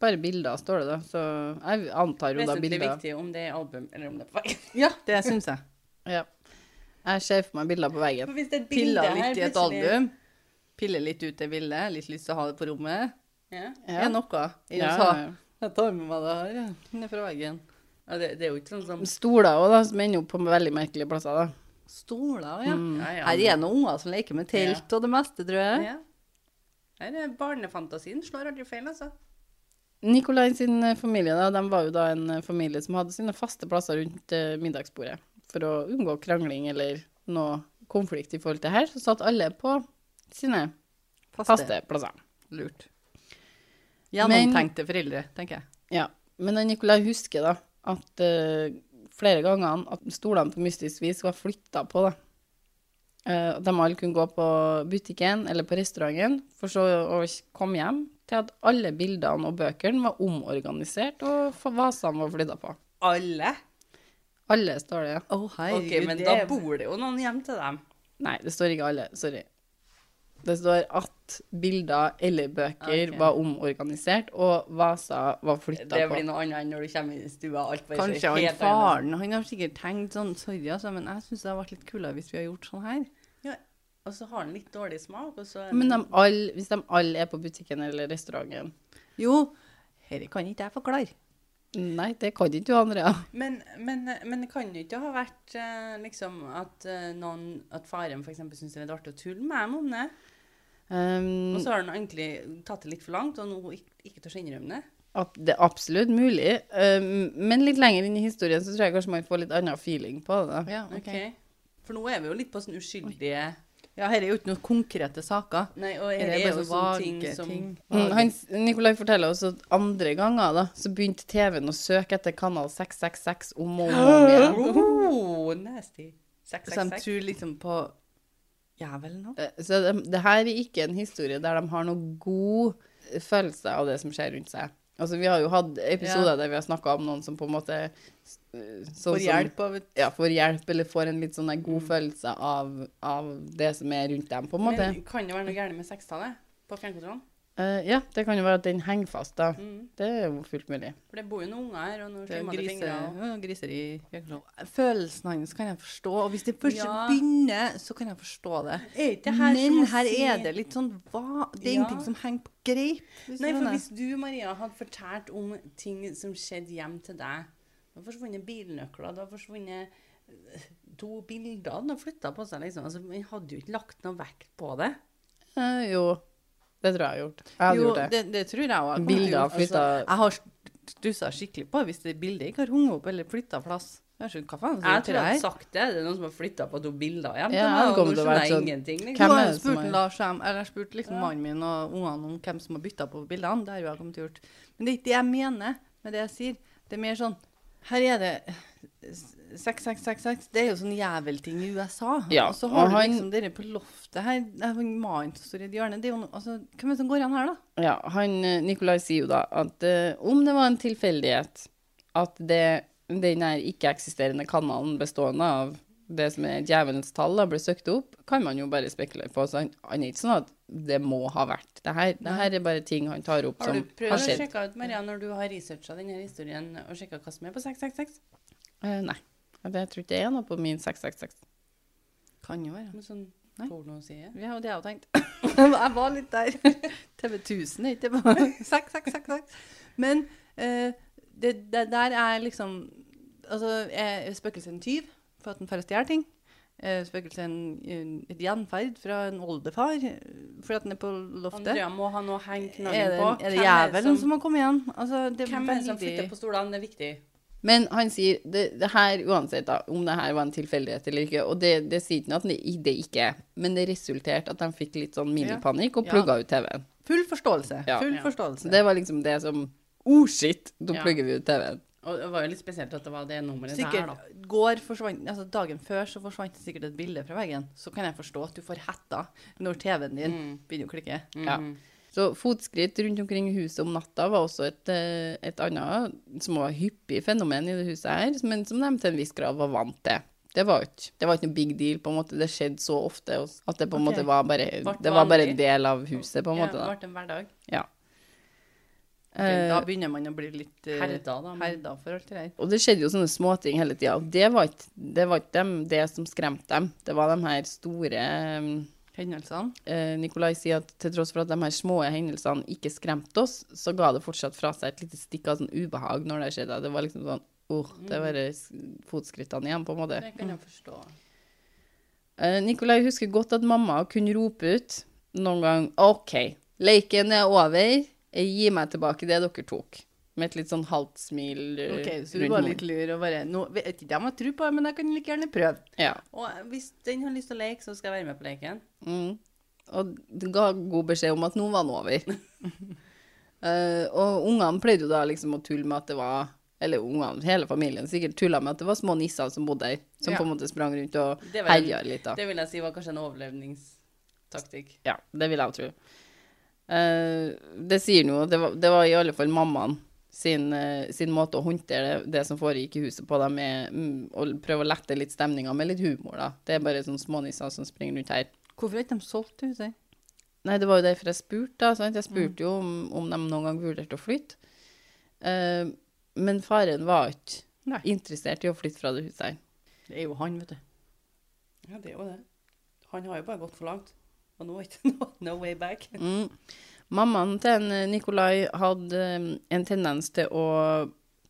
S1: Bare bilder, står det da. Så jeg antar jo da
S3: Vesentlig
S1: bilder.
S3: viktig om det er album eller om det er på veggen.
S2: Ja, det syns jeg.
S1: Ja. Jeg ser for meg bilder på veggen.
S3: For <laughs> hvis det er et bilde
S2: Piller
S3: her
S2: litt i et
S3: plutselig-
S2: album. Piller litt ut det bildet. Litt lyst til å ha det på rommet.
S3: Ja.
S2: Er noe. Enn å
S1: Ja,
S2: ta
S1: ja, ja.
S2: Jeg tar med meg det her, jeg. Ned fra veggen.
S3: Ja, det, det er jo ikke sånn som
S1: Stoler òg, da, som ender opp på veldig merkelige plasser. da.
S2: Stoler, ja.
S3: ja, ja.
S2: Mm. Her er noen unger som leker med telt og det meste, tror jeg.
S3: Ja. Nei, det er barnefantasien slår aldri feil, altså.
S1: Nikolai sin eh, familie da, de var jo da en eh, familie som hadde sine faste plasser rundt eh, middagsbordet. For å unngå krangling eller noe konflikt i forhold til her, så satt alle på sine faste plasser.
S2: Lurt.
S1: Men-
S2: Gjennomtenkte foreldre, tenker jeg.
S1: Ja, men han Nikolai husker da at eh, flere ganger at stolene på mystisk vis var flytta på. da. Eh, at de alle kunne gå på butikken eller på restauranten, for så å komme hjem til at alle bildene og bøkene var omorganisert, og f- vasene var flytta på.
S3: Alle?
S1: Alle står det, ja.
S2: Å, herregud,
S3: Ok, men
S2: det
S3: da
S2: er-
S3: bor det jo noen hjem til dem.
S1: Nei, det står ikke alle. Sorry. Det står at bilder eller bøker
S3: Ok.
S1: var omorganisert, og vaser var flytta
S3: Det
S1: på.
S3: blir noe annet enn når du kommer inn i stua. Alt bare
S2: Kanskje
S3: ser
S2: han
S3: helt annerledes.
S2: faren Han har sikkert tenkt sånn Sorry, altså, men jeg syns det hadde vært litt kulere hvis vi hadde gjort sånn her.
S3: Ja, og så har han litt dårlig smak, og så er
S1: Men
S3: han-
S1: de alle- hvis de alle er på butikken eller restauranten
S2: Jo, dette kan ikke jeg forklare.
S1: Nei, det kan ikke du, Andrea.
S3: men, men, men det kan jo ikke ha vært eh, liksom at, eh, noen, at faren f.eks. syns det er litt artig å tulle med dem om det.
S1: Um,
S3: Og så har han egentlig tatt det litt for langt, og nå ikke, ikke tør å innrømme det.
S1: at det er absolutt mulig. Um, men litt lenger inn i historien så tror jeg kanskje man får litt annen feeling på det. da.
S2: Ja,
S3: Ok. For nå er vi jo litt på sånn uskyldige
S2: Ja, dette er jo ikke noen konkrete saker.
S3: Nei, og
S2: Dette er
S3: dette
S2: bare
S3: er jo
S2: så
S3: sånne
S2: vage
S3: ting som
S2: ting.
S1: Mm, han, Nikolai forteller også at andre ganger da, så begynte TV-en å søke etter kanal 666 om og om igjen.
S3: Oh, nasty. Seks,
S2: Så
S3: seks,
S2: de
S3: seks.
S2: tror liksom på jævel nå.
S1: Eh, Så det, det her er ikke en historie der de har noen god følelse av det som skjer rundt seg. Altså, vi har jo hatt episoder der vi har snakka om noen som på en måte eh, sånn
S2: Får
S1: som-
S2: hjelp av et
S1: ja, får hjelp eller får en litt sånn der god følelse av, av det som er rundt dem, på en måte.
S3: Men kan det være noe gærent med sekstallet på fjernkontrollen?
S1: Eh, ja, det kan jo være at den henger fast, da.
S3: Mm.
S1: Det er jo fullt mulig.
S3: For det bor jo noen unger her, og nå
S2: Det er
S3: slimmer det
S2: grise-
S3: fingre. og-
S2: ja, griser i fjernkontroll. Følelsen hans kan jeg forstå, og hvis det først
S3: Ja.
S2: begynner, så kan jeg forstå det.
S3: Er ikke det her som
S2: Men
S3: å
S2: her
S3: si-
S2: er det litt sånn hva? Det er
S3: Ja.
S2: ingenting som henger på greip. hvis
S3: Nei,
S2: du
S3: for
S2: skjønner.
S3: hvis du, Maria, hadde fortalt om ting som skjedde hjem til deg Det har forsvunnet bilnøkler, det har forsvunnet eh, to bilder Den har flytta på seg, liksom. Altså, man hadde jo ikke lagt noe vekt på det.
S1: Eh, jo, det tror jeg jeg har gjort. Jeg hadde
S2: jo,
S1: gjort det.
S2: det, det tror jeg også. Jeg
S1: Bilder
S2: kommer til å- altså,
S1: flytta-
S2: jeg har stussa skikkelig på hvis det bildet ikke har hunget opp eller flytta plass. Jeg skjønner hva faen som
S3: Jeg
S2: gjør til Altså, det
S3: tror jeg
S2: her.
S3: hadde sagt det. Det er noen som har flytta på to bilder hjem
S1: Ja,
S3: til meg,
S1: det
S3: og
S1: kommer til
S3: nå
S1: å
S3: skjønner
S1: være
S3: jeg
S1: sånn-
S3: ingenting.
S1: Hvem
S2: Hvem
S3: Liksom.
S1: er
S2: har
S1: det som
S2: spurt
S1: har-
S2: en Lars Hjem, eller jeg spurte liksom
S3: Ja.
S2: mannen min og ungene om hvem som har bytta på bildene. Det har jo jeg kommet til å gjort. Men det er ikke det jeg mener med det jeg sier. Det er mer sånn Her er det 6666. Det er jo sånn jævelting i USA.
S1: Ja,
S2: og så har
S1: og
S2: du
S1: han-
S2: liksom dere på loftet her. Det er jo en mann som står i et hjørne. Det er jo noe Altså, hvem er det som går igjen her, da?
S1: Ja, han, eh, Nikolai sier jo da at eh, om det var en tilfeldighet at det, den her ikke-eksisterende kanalen bestående av det som er djevelens tall, da, ble søkt opp, kan man jo bare spekulere på. Så han, han er ikke sånn at det må ha vært det her. Det her er bare ting han tar opp
S3: Har
S1: som
S3: du prøvd
S1: har
S3: å
S1: skjedd.
S3: sjekke ut, Maria, når du har researcha denne historien, og sjekka hva som er på 666?
S1: Eh, nei. Det, jeg tror ikke det er noe på min 666.
S2: Kan jo være.
S3: Med sånn
S2: Nei.
S3: pornoside?
S2: Ja, og det har jeg jo tenkt. <laughs> jeg var litt der. <laughs> TV 1000 er ikke bare <laughs> Sakk, sakk, sakk, sakk. Men eh, det, det der er liksom Altså, er spøkelset en tyv for at den får stjele ting? Er spøkelset en, en, et gjenferd fra en oldefar eh, fordi at den er på loftet?
S3: Andrea må ha noe å henge
S2: Er
S3: knaggen
S2: det,
S3: på.
S2: er det
S3: Hvem
S2: jævelen som,
S3: som-
S2: har kommet igjen? Altså, det er
S3: Hvem er det som
S2: veldig-
S3: flytter på stolene? Det er viktig.
S1: Men han sier det, det her uansett da, om det her var en tilfeldighet eller ikke, og det, det sier ikke noe at det, det ikke er, men det resulterte at de fikk litt sånn minipanikk og
S2: Ja.
S1: plugga ut TV-en.
S2: Full forståelse.
S1: Ja.
S2: Full
S3: Ja.
S2: forståelse.
S1: Så det var liksom det som Oh shit, nå
S3: Ja.
S1: plugger vi ut TV-en.
S3: Og det var jo litt spesielt at det var det nummeret der, da.
S2: Sikkert går forsvant, altså Dagen før så forsvant det sikkert et bilde fra veggen. Så kan jeg forstå at du får hetta når TV-en din
S3: Mm.
S2: begynner å klikke.
S1: Ja. Mm. Så fotskritt rundt omkring i huset om natta var også et, eh, et annet som var hyppig fenomen i det huset her, men som de til en viss grad var vant til. Det var jo ikke, det var ikke noe big deal, på en måte. Det skjedde så ofte og s- at det på en
S2: Ok.
S1: måte var bare,
S3: Vart
S1: det var bare en
S3: vanlig.
S1: del av huset, på en måte.
S3: Ja,
S1: Da.
S3: det ble en hverdag.
S1: Ja.
S2: Ok, Da
S1: Eh,
S2: begynner man å bli litt eh,
S3: Herda, da. Men,
S2: herda for alt det der.
S1: og det skjedde jo sånne småting hele tida. Og det var ikke, det, var ikke dem, det som skremte dem. Det var de her store eh,
S2: Hendelsene.
S1: eh, Nikolai sier at til tross for at de her små hendelsene ikke skremte oss, så ga det fortsatt fra seg et lite stikk av sånn ubehag når det skjedde. Det var liksom sånn Åh,
S2: Mm.
S1: det var eh, s- fotskrittene igjen, på en måte.
S3: det kan jeg forstå.
S1: Eh, Nikolai husker godt at mamma kunne rope ut noen gang OK, leken er over, jeg gir meg tilbake det dere tok. Med et litt sånn halvt smil eh,
S2: Ok, Så du
S1: rundt
S2: var
S1: munnen.
S2: litt lur og bare nå, Vet ikke om jeg tror på det, men jeg kan like gjerne prøve.
S1: Ja.
S3: Og eh, hvis den har lyst til å leke, så skal jeg være med på leken.
S1: Mm. Og det ga god beskjed om at nå var den over.
S3: <laughs>
S1: Eh, og ungene pleide jo da liksom å tulle med at det var Eller ungene, hele familien sikkert tulla med at det var små nisser som bodde her, som
S2: Ja.
S1: på en måte sprang rundt og
S3: Det var-
S1: herja litt. da.
S3: Det vil jeg si var kanskje en overlevningstaktikk.
S1: Ja, det vil jeg tro. Eh, det sier noe. Det var, det var i alle fall mammaen sin, eh, sin måte å håndtere det, det som foregikk i huset på, da, med mm, å prøve å lette litt stemninga med litt humor. da. Det er bare sånne smånisser som springer rundt her.
S2: Hvorfor har ikke de solgt huset?
S1: Nei, det var jo derfor jeg spurte. da, sant? Jeg spurte jo om, om de noen gang vurderte å flytte. Eh, men faren var ikke
S2: Nei.
S1: interessert i å flytte fra det huset her.
S2: Det er jo han, vet du.
S3: Ja, det er jo det. Han har jo bare gått for langt. Og nå er ikke <laughs> no, no way back.
S1: Mm. Mammaen til en eh, Nikolai hadde eh, en tendens til å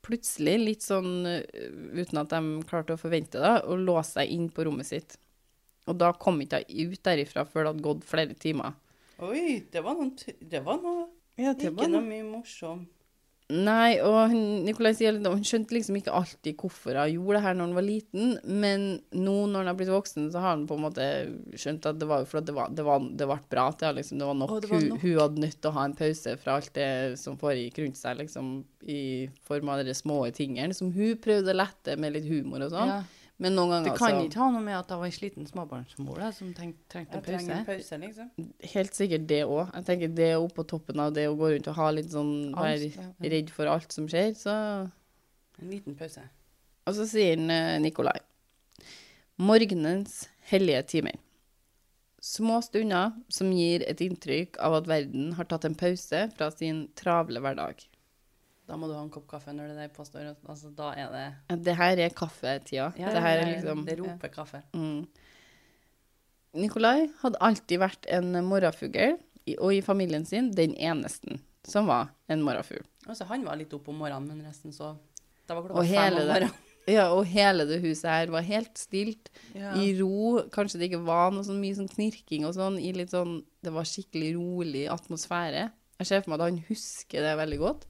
S1: plutselig, litt sånn eh, uten at de klarte å forvente det, å låse seg inn på rommet sitt. Og da kom ikke hun ut derifra før det hadde gått flere timer.
S3: Oi, det var noe t- Det var noe
S2: Ja,
S3: Ikke noe mye morsom.
S1: Nei, og hun- Nicolai sier litt om- hun skjønte liksom ikke alltid hvorfor hun gjorde det her når hun var liten, men nå når hun har blitt voksen, så har hun på en måte skjønt at det var jo fordi det, var, det, var, det ble bra til henne. Liksom. Det var nok.
S2: Å, det var
S1: Hun,
S2: nok.
S1: hun hadde nødt til å ha en pause fra alt det som foregikk rundt seg, liksom, i form av de små tingene som hun prøvde å lette med litt humor og sånn.
S2: Ja.
S1: Men noen ganger
S2: Det
S3: Altså-
S2: kan
S1: så-
S2: ikke ha noe med at jeg var en sliten småbarnsmor da, som tenk, trengte
S3: Jeg
S2: en
S3: trenger
S2: pause.
S3: en pause, liksom.
S1: Helt sikkert det òg. Jeg tenker det er oppå toppen av det å gå rundt og ha litt sånn
S2: Angst,
S1: Være
S2: ja.
S1: redd for alt som skjer, så
S3: En liten pause.
S1: Og så sier han, eh, Nikolai. Morgenens hellige timer. Små stunder som gir et inntrykk av at verden har tatt en pause fra sin travle hverdag.
S3: Da må du ha en kopp kaffe når det der påstår at altså, Da er det
S1: Ja, Det her er kaffetida. det her er liksom
S3: Det roper kaffe.
S1: mm. Nikolai hadde alltid vært en morgenfugl, i- og i familien sin den eneste som var en morgenfugl.
S3: Altså, han var litt oppe om morgenen, men resten sov. Da var klokka
S1: Og
S3: fem
S1: hele
S3: om
S1: det,
S3: morgenen. <laughs>
S1: ja, og hele det huset her var helt stilt.
S2: Ja.
S3: <laughs>
S1: i ro. Kanskje det ikke var noe sånn mye sånn knirking og sånn. i litt sånn, Det var skikkelig rolig atmosfære. Jeg ser for meg at han husker det veldig godt.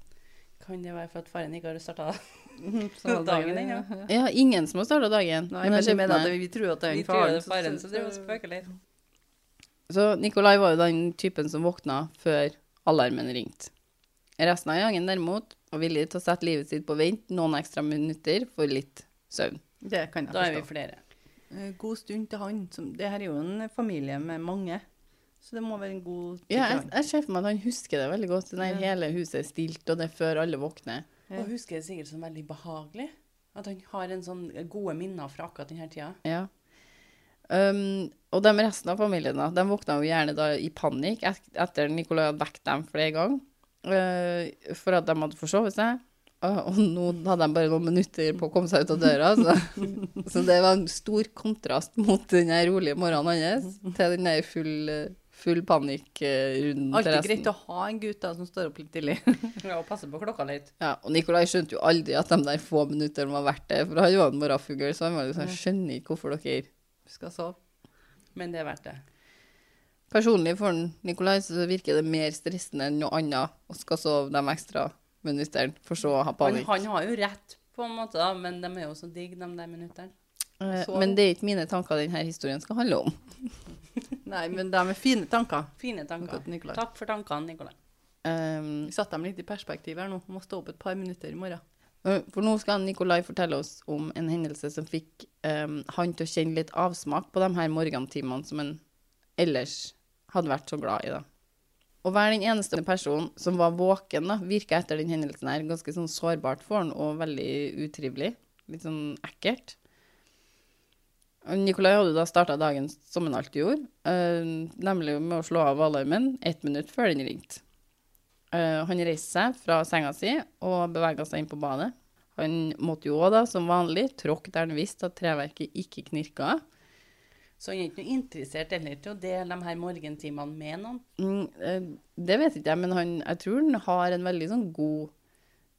S3: Kan det være for at faren ikke har starta
S2: Sånn at
S3: dagen
S2: dagen-
S3: ennå?
S1: Ja, ingen som har starta dagen.
S2: Nei,
S1: Men
S2: men
S1: jeg ser
S2: jeg
S1: for
S2: mener at
S1: meg-
S2: vi tror at det er
S3: Vi
S2: en
S3: tror det
S2: faren.
S3: er faren
S2: som-
S3: som driver og spøker litt.
S1: Så Nikolai var jo den typen som våkna før alarmen ringte. Resten av gangen derimot var villig til å sette livet sitt på vent noen ekstra minutter for litt søvn.
S2: Det kan jeg
S3: Da er vi
S2: forstå.
S3: flere.
S2: Eh, God stund til han. Som, det her er jo en familie med mange, så det må være en god tid
S1: Ja,
S2: til
S1: jeg,
S2: han.
S1: jeg ser for meg at han husker det veldig godt. Den der
S2: Ja.
S1: Hele huset er stilt, og det er før alle våkner.
S2: Ja.
S3: Og husker det sikkert som veldig behagelig. At han har en sånn gode minner fra akkurat denne tida.
S1: Ja. Um, og de resten av familien da, de våkna jo gjerne da i panikk et, etter Nicolai hadde vekt dem flere ganger eh, for at de hadde forsovet seg. Og, og nå hadde de bare noen minutter på å komme seg ut av døra. Så, <laughs> så det var en stor kontrast mot den her rolige morgenen hans til den der full, full panikkrunden til
S2: Alltid
S1: resten.
S2: greit å ha en gutt da, som står opp litt tidlig.
S3: <laughs>
S2: <laughs>
S3: Ja, og passe på klokka litt.
S1: Ja, og Nikolai skjønte jo aldri at de der få minuttene var verdt det, for han var en morgenfugl, så han var liksom, jeg skjønner ikke hvorfor dere
S2: Skal sove.
S3: Men det er verdt det.
S1: Personlig for den, Nikolai så virker det mer stressende enn noe annet å skal sove de ekstra minuttene, for så å ha
S3: Han,
S1: panikk.
S3: han har jo rett, på en måte, da, men de er jo så digg, de der minuttene.
S1: Eh,
S2: sove.
S1: Men det er ikke mine tanker denne historien skal handle om.
S2: Nei, men de er fine tanker.
S3: Fine tanker.
S2: Godt, Nicolai.
S3: Takk for tankene, Nicolai.
S1: Um,
S2: Vi satte dem litt i perspektiv her nå. Må stå opp et par minutter i morgen.
S1: Eh, For nå skal Nikolai fortelle oss om en hendelse som fikk eh, han til å kjenne litt avsmak på de her morgentimene som han ellers hadde vært så glad i. da. Å være den eneste personen som var våken, da, virka etter den hendelsen her ganske sånn sårbart for han, og veldig utrivelig. Litt sånn ekkelt. Og Nikolai hadde da starta dagen som han alltid gjorde, eh, nemlig med å slå av alarmen ett minutt før den ringte. Eh, han reiste seg fra senga si og bevega seg inn på badet. Han måtte jo òg, da, som vanlig, tråkke der han visste at treverket ikke knirka.
S3: Så han er ikke noe interessert heller til å dele de her morgentimene med noen.
S1: Mm, eh, det vet ikke jeg, men han, jeg tror han har en veldig sånn god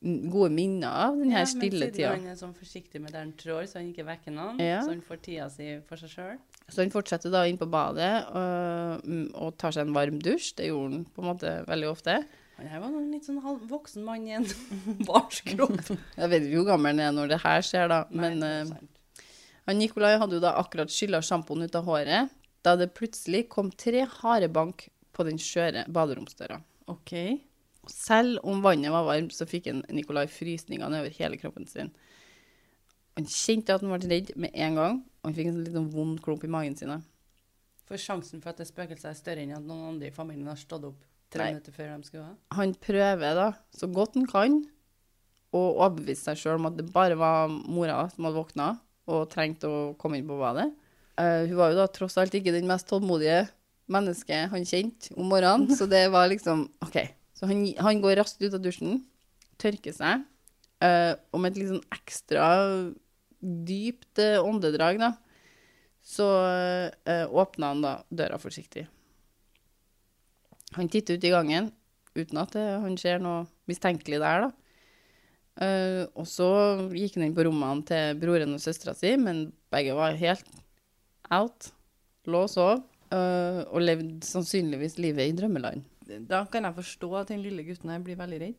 S1: n- Gode minner av den her
S3: Ja, men
S1: stille tida.
S3: Siden han er sånn forsiktig med der han trår, så han ikke vekker noen,
S1: Ja.
S3: så han får tida si for seg sjøl.
S1: Så han fortsetter da inn på badet øh, mm, og tar seg en varm dusj. Det gjorde han på en måte veldig ofte.
S3: Han her var nå en litt sånn halv voksen mann i en <laughs> barsk kropp.
S1: Jeg vet ikke hvor gammel han er når det her skjer, da. <laughs> Men
S3: Nei,
S1: eh,
S3: det er sant.
S1: han Nikolai hadde jo da akkurat skylla sjampoen ut av håret da det plutselig kom tre harde bank på den skjøre baderomsdøra.
S2: OK.
S1: Og Selv om vannet var varmt, så fikk en Nikolai frysninger nedover hele kroppen sin. Han kjente at han ble redd med en gang, og han fikk en sånn liten vond klump i magen sin. da.
S3: For sjansen for at det spøkelset er større enn at noen andre i familien har stått opp tre
S1: Nei.
S3: minutter før de skulle ha.
S1: han prøver da, så godt han kan, å overbevise seg sjøl om at det bare var mora som hadde våkna og trengte å komme inn på badet. Eh, hun var jo da tross alt ikke den mest tålmodige mennesket han kjente om morgenen, så det var liksom OK. Så han, han går raskt ut av dusjen, tørker seg, eh, og med et litt sånn ekstra dypt eh, åndedrag, da, så uh, åpna han da døra forsiktig. Han titter ut i gangen, uten at eh, han ser noe mistenkelig der, da. Eh, og så gikk han inn på rommene til broren og søstera si, men begge var helt out. Lå og sov, eh, og levde sannsynligvis livet i drømmeland.
S2: Da kan jeg forstå at den lille gutten her blir veldig redd.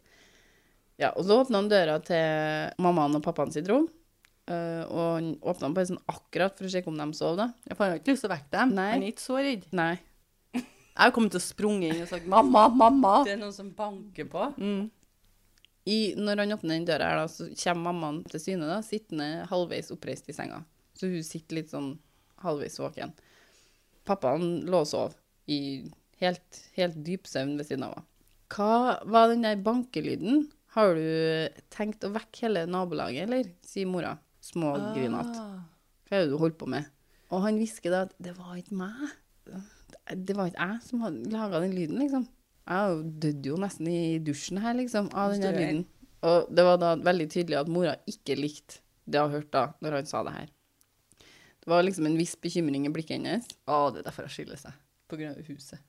S1: Ja, og så åpna han døra til mammaen og pappaen sitt rom. eh, og han åpna den bare sånn akkurat for å sjekke om de sov, da.
S2: Jeg får ikke lyst til å vekke dem.
S1: Nei.
S2: Han er ikke så redd.
S1: Nei.
S2: Jeg har kommet til å sprunge inn og sagt 'mamma, mamma'.
S3: Det er noen som banker på.
S2: Mm.
S1: I, når han åpner den døra her, da, så kommer mammaen til syne, da, sittende halvveis oppreist i senga. Så hun sitter litt sånn halvveis våken. Pappaen lå og sov i helt, helt dyp søvn ved siden av henne. Hva var den der bankelyden? Har du tenkt å vekke hele nabolaget, eller? sier mora. Smågrinete.
S2: Ah.
S1: Hva er det du holder på med? Og han hvisker da at det var ikke meg. Det var ikke jeg som hadde laga den lyden, liksom. Jeg døde jo nesten i dusjen her, liksom, av den der
S3: Støy.
S1: lyden. Og det var da veldig tydelig at mora ikke likte det hun hørte da, når han sa det her. Det var liksom en viss bekymring i blikket hennes.
S2: Å, det er derfor jeg skiller seg. På grunn av huset.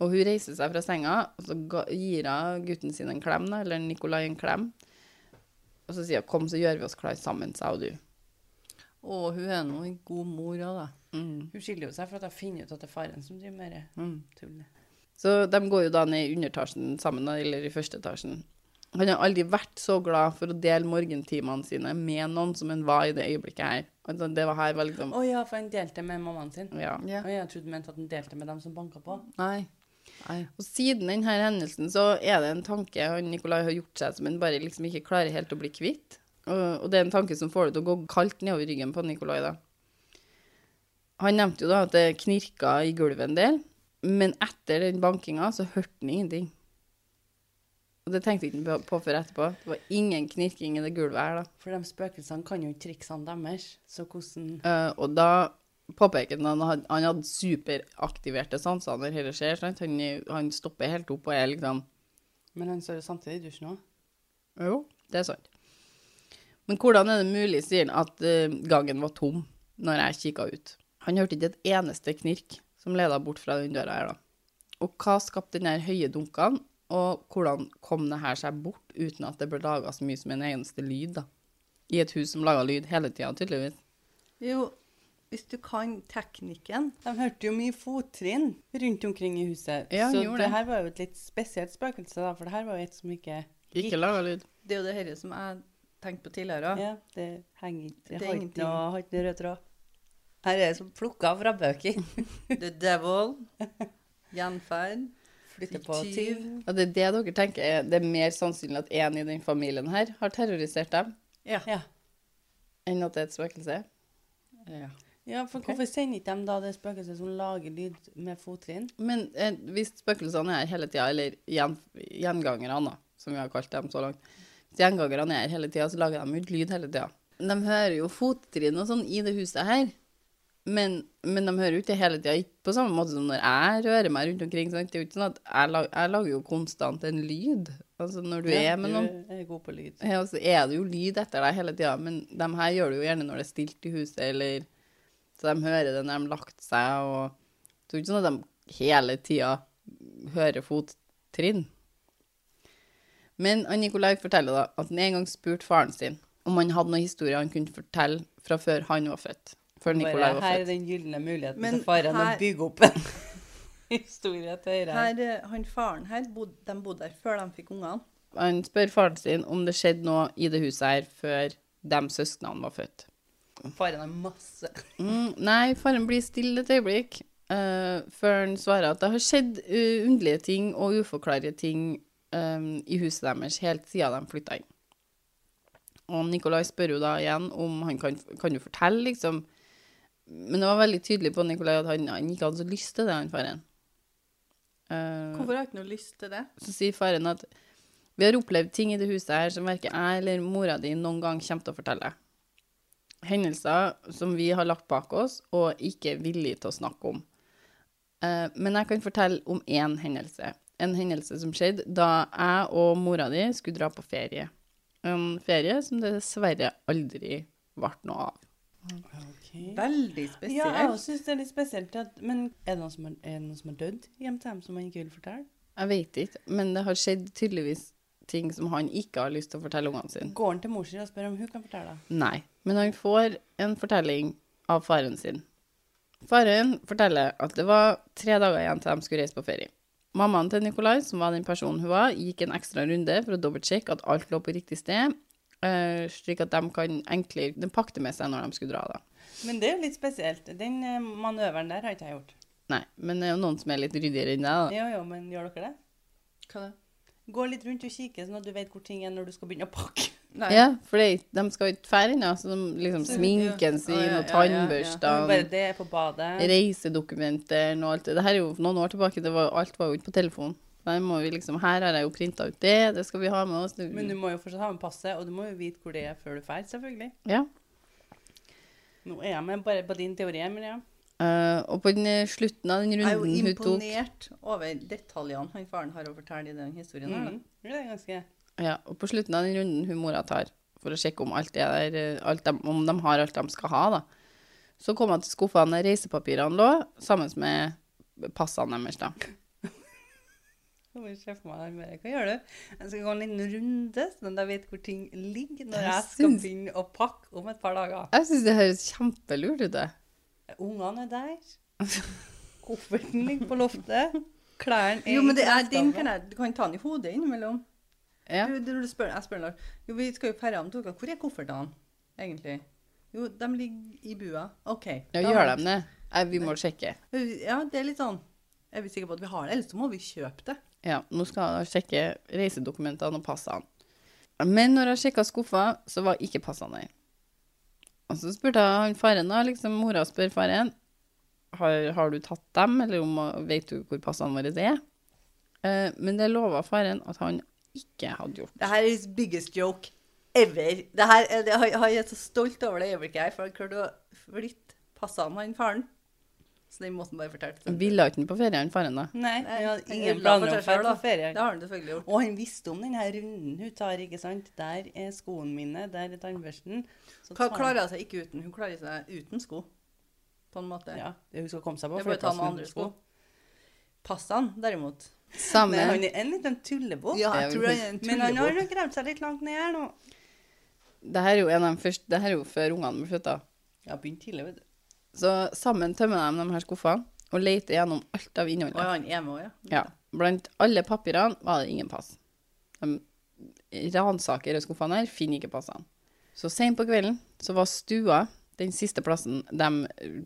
S1: Og hun reiser seg fra senga, og så ga- gir hun gutten sin en klem, da, eller Nikolai en klem. Og så sier hun 'kom, så gjør vi oss klar sammen', sa hun du.
S2: Å, hun er nå en god mor òg, da.
S1: Mm.
S3: Hun skiller jo seg for at hun finner ut at det er faren som driver med det tullet.
S1: Så de går jo da ned i underetasjen sammen, da, eller i første etasjen. Han har aldri vært så glad for å dele morgentimene sine med noen som han var i det øyeblikket her. Altså, det var her var liksom
S3: Å ja, for han delte med mammaen sin.
S1: Mm, Ja.
S2: Ja.
S3: Å, jeg trodde du mente at han delte med dem som banka på.
S2: Nei. Nei.
S1: Og siden denne hendelsen så er det en tanke han Nikolai har gjort seg som han bare liksom ikke klarer helt å bli kvitt. Og, og det er en tanke som får det til å gå kaldt nedover ryggen på Nikolai, da. Han nevnte jo da at det knirka i gulvet en del, men etter den bankinga så hørte han ingenting. Og det tenkte ikke han på- på før etterpå. Det var ingen knirking i det gulvet her, da.
S3: For de spøkelsene kan jo ikke triksene deres. Så hvordan
S1: Eh, og da påpeker han at han had- han hadde superaktiverte sanser når dette skjer. sant? Han, han stopper helt opp og er liksom
S3: Men han står jo samtidig i dusjen òg.
S1: Jo, det er sant. Men hvordan er det mulig, sier han, at eh, gangen var tom når jeg kikka ut? Han hørte ikke et eneste knirk som leda bort fra den døra her, da. Og hva skapte den der høye dunkene, og hvordan kom det her seg bort uten at det ble laga så mye som en eneste lyd, da? I et hus som laga lyd hele tida, tydeligvis.
S2: Jo, hvis du kan teknikken
S3: De hørte jo mye fottrinn rundt omkring i huset.
S1: Ja,
S3: så
S1: gjorde
S3: det
S1: det.
S3: her var jo et litt spesielt spøkelse, da, for det her var jo et som ikke
S1: Ikke laga lyd.
S2: Det er jo det dette som jeg tenkte på tidligere.
S3: Ja, det henger ikke
S2: Det
S3: Det
S2: er
S3: har ikke
S2: ingenting.
S3: noe har ikke noe rød tråd.
S2: <laughs>
S3: Her er det som plukka fra bøker.
S2: The devil. Gjenferd.
S3: flytter på
S2: Fiktiv.
S3: tyv.
S1: Og det er det dere tenker, er det er mer sannsynlig at en i den familien her har terrorisert dem,
S2: Ja.
S3: Ja.
S1: enn at det er et spøkelse?
S2: ja.
S3: ja, for hvorfor sender ikke de da det spøkelset som lager lyd med fottrinn?
S1: Men eh, hvis spøkelsene er her hele tida, eller gjen, gjengangerne, da, som vi har kalt dem så langt Hvis gjengangerne er her hele tida, så lager de jo ikke lyd hele tida. De hører jo fottrinn og sånn i det huset her, men, men de hører jo ikke det hele tida. Ikke på samme måte som når jeg rører meg rundt omkring. Sant? Det er jo ikke sånn at jeg, lag, jeg lager jo konstant en lyd. Altså når du
S3: Ja,
S1: er med noen.
S3: Du er god på lyd.
S1: Ja, så er det jo lyd etter deg hele tida, men de her gjør det jo gjerne når det er stilt i huset, eller så de hører det når de har lagt seg, og det er jo ikke sånn at de hele tida hører fottrinn. Men han Nikolai forteller da at han en gang spurte faren sin om han hadde noen historier han kunne fortelle fra før han var født. Før Nikolai
S3: Bare,
S1: var
S3: her
S1: født.
S3: er den gylne muligheten
S2: Men
S3: til faren å
S2: her-
S3: bygge opp en <laughs> historie til dere.
S2: Her, eh, han faren her, bod, de bodde der før de fikk ungene.
S1: Han spør faren sin om det skjedde noe i det huset her før de søsknene var født.
S3: Faren har masse.
S1: Mm, nei, faren blir stille et øyeblikk eh, før han svarer at det har skjedd eh, underlige ting og uforklarlige ting eh, i huset deres helt siden de flytta inn. Og Nikolai spør jo da igjen om han kan, kan du fortelle, liksom. Men det var veldig tydelig på Nikolai at han, han ikke hadde så lyst til det, han faren. Eh,
S2: Hvorfor har jeg ikke noe lyst til det?
S1: så sier faren at vi har opplevd ting i det huset her som verken jeg eller mora di noen gang kommer til å fortelle. Hendelser som vi har lagt bak oss og ikke er villige til å snakke om. Eh, Men jeg kan fortelle om én hendelse. En hendelse som skjedde da jeg og mora di skulle dra på ferie. En ferie som det dessverre aldri ble noe av.
S2: Veldig
S3: Ja, jeg
S2: spesielt.
S3: syns det er litt spesielt. At, men er det noen som har, er det noen som har dødd hjemme til dem som man ikke vil fortelle?
S1: Jeg vet ikke, men det har skjedd tydeligvis ting som han ikke har lyst til å fortelle ungene sine.
S3: Går han til mor si og spør om hun kan fortelle? det?
S1: Nei, men han får en fortelling av faren sin. Faren forteller at det var tre dager igjen til de skulle reise på ferie. Mammaen til Nikolai, som var den personen hun var, gikk en ekstra runde for å dobbeltsjekke at alt lå på riktig sted, eh, slik at de kan enklere de pakte med seg når de skulle dra. da.
S3: Men det er jo litt spesielt. Den eh, manøveren der har ikke jeg gjort.
S1: Nei, men det er jo noen som er litt ryddigere enn deg, da.
S3: Jo, jo, men gjør dere det?
S2: Hva da?
S3: Gå litt rundt og kikke, sånn at du vet hvor ting er når du skal begynne å pakke.
S2: Nei.
S1: Ja, for det- de skal jo ikke fære ennå, så de liksom
S2: Så-
S1: sminken
S2: ja.
S1: sin
S2: Å, ja,
S1: og
S2: ja, ja, ja.
S1: tannbørstene
S3: <laughs> Bare det er på badet.
S1: reisedokumenter og alt det. Det her er jo noen år tilbake, det var, alt var jo ikke på telefon. Der må vi liksom, her har jeg jo printa ut det, det skal vi ha med oss. Det,
S3: Men du må jo fortsatt ha med passet, og du må jo vite hvor det er før du drar, selvfølgelig.
S1: ja.
S3: Nå er jeg med bare på din teori, men ja.
S1: Eh, og på den eh, slutten av den
S2: Jeg er jo
S1: runden hun tok
S2: imponert over detaljene han faren har å fortelle i den historien. her, da.
S3: Mm. Det er ganske
S1: ja, Og på slutten av den runden hun mora tar, for å sjekke om, alt er der, eh, alt de, om de har alt de skal ha, da. Så kom jeg til skuffene der reisepapirene lå, sammen med passene deres, da.
S3: Nå må jeg se for meg den bare, Hva gjør du? Jeg skal gå en liten runde, sånn at jeg vet hvor ting ligger når
S1: Jeg
S3: jeg skal
S1: syns-
S3: begynne å pakke om et par dager.
S1: Jeg syns det høres kjempelurt ut, det.
S3: Ungene er
S2: <laughs>
S3: der. Kofferten ligger på loftet. Klærne er
S2: Jo, men det er,
S3: i
S2: den
S3: klesskapet.
S2: kan jeg, du kan ta den i hodet innimellom.
S1: Ja.
S2: Du, du, du spør, jeg spør Lars. Jo, vi skal jo ferde om to uker. Hvor er koffertene, egentlig? Jo, de ligger i bua. OK.
S1: Ja,
S2: da
S1: gjør
S2: har
S1: de det? Eh, Vi må sjekke.
S2: vi- Ja, det er litt sånn Er vi sikre på at vi har det? Ellers så må vi kjøpe det.
S1: Ja, nå skal jeg sjekke reisedokumentene og passene. Men når jeg sjekka skuffa, så var ikke passene der. Og så spurte jeg han faren, da, liksom mora spør faren har, har du tatt dem, eller om, vet du hvor passene våre er? Eh, men det lova faren at han ikke hadde gjort.
S2: Det her er his biggest joke ever. Det her, er- det, jeg, jeg er så stolt over det øyeblikket her, for han klarte å flytte passene han faren. Så den måten bare fortalte.
S1: Ville ikke han på ferie, han faren, da?
S3: Nei,
S2: Nei,
S3: jeg
S2: han
S3: hadde ingen
S2: ødela
S3: planer
S2: for
S3: om
S2: seg
S3: å
S2: selv,
S3: dra
S2: da.
S3: på ferie.
S2: Det har han selvfølgelig gjort.
S3: Og han visste om denne runden hun tar, ikke sant. Der er skoene mine, der er tannbørsten. Så
S2: Hva
S3: tar-
S2: klarer hun seg ikke uten? Hun klarer seg uten sko, på en måte.
S3: Ja, hun skal komme seg på
S2: Det er bare å ta
S3: flyplassen
S2: med
S3: uten
S2: andre sko. Passene, derimot
S1: Samme.
S3: Nei, han er en liten tullebukk.
S2: Ja,
S1: det er
S2: jeg tror
S1: vel-
S2: det er en
S3: Men han har
S2: tullebok.
S3: jo gravd seg litt langt ned her nå.
S1: Det her er jo en av de første, det her er jo før ungene ble født, da.
S3: Ja, begynt tidlig, vet du.
S1: Så sammen tømmer de de her skuffene og leter gjennom alt av innholdet.
S2: Og han er med også,
S1: Ja.
S2: ja.
S1: Blant alle papirene var det ingen pass. De ransaker i skuffene her, finner ikke passene. Så sent på kvelden så var stua den siste plassen de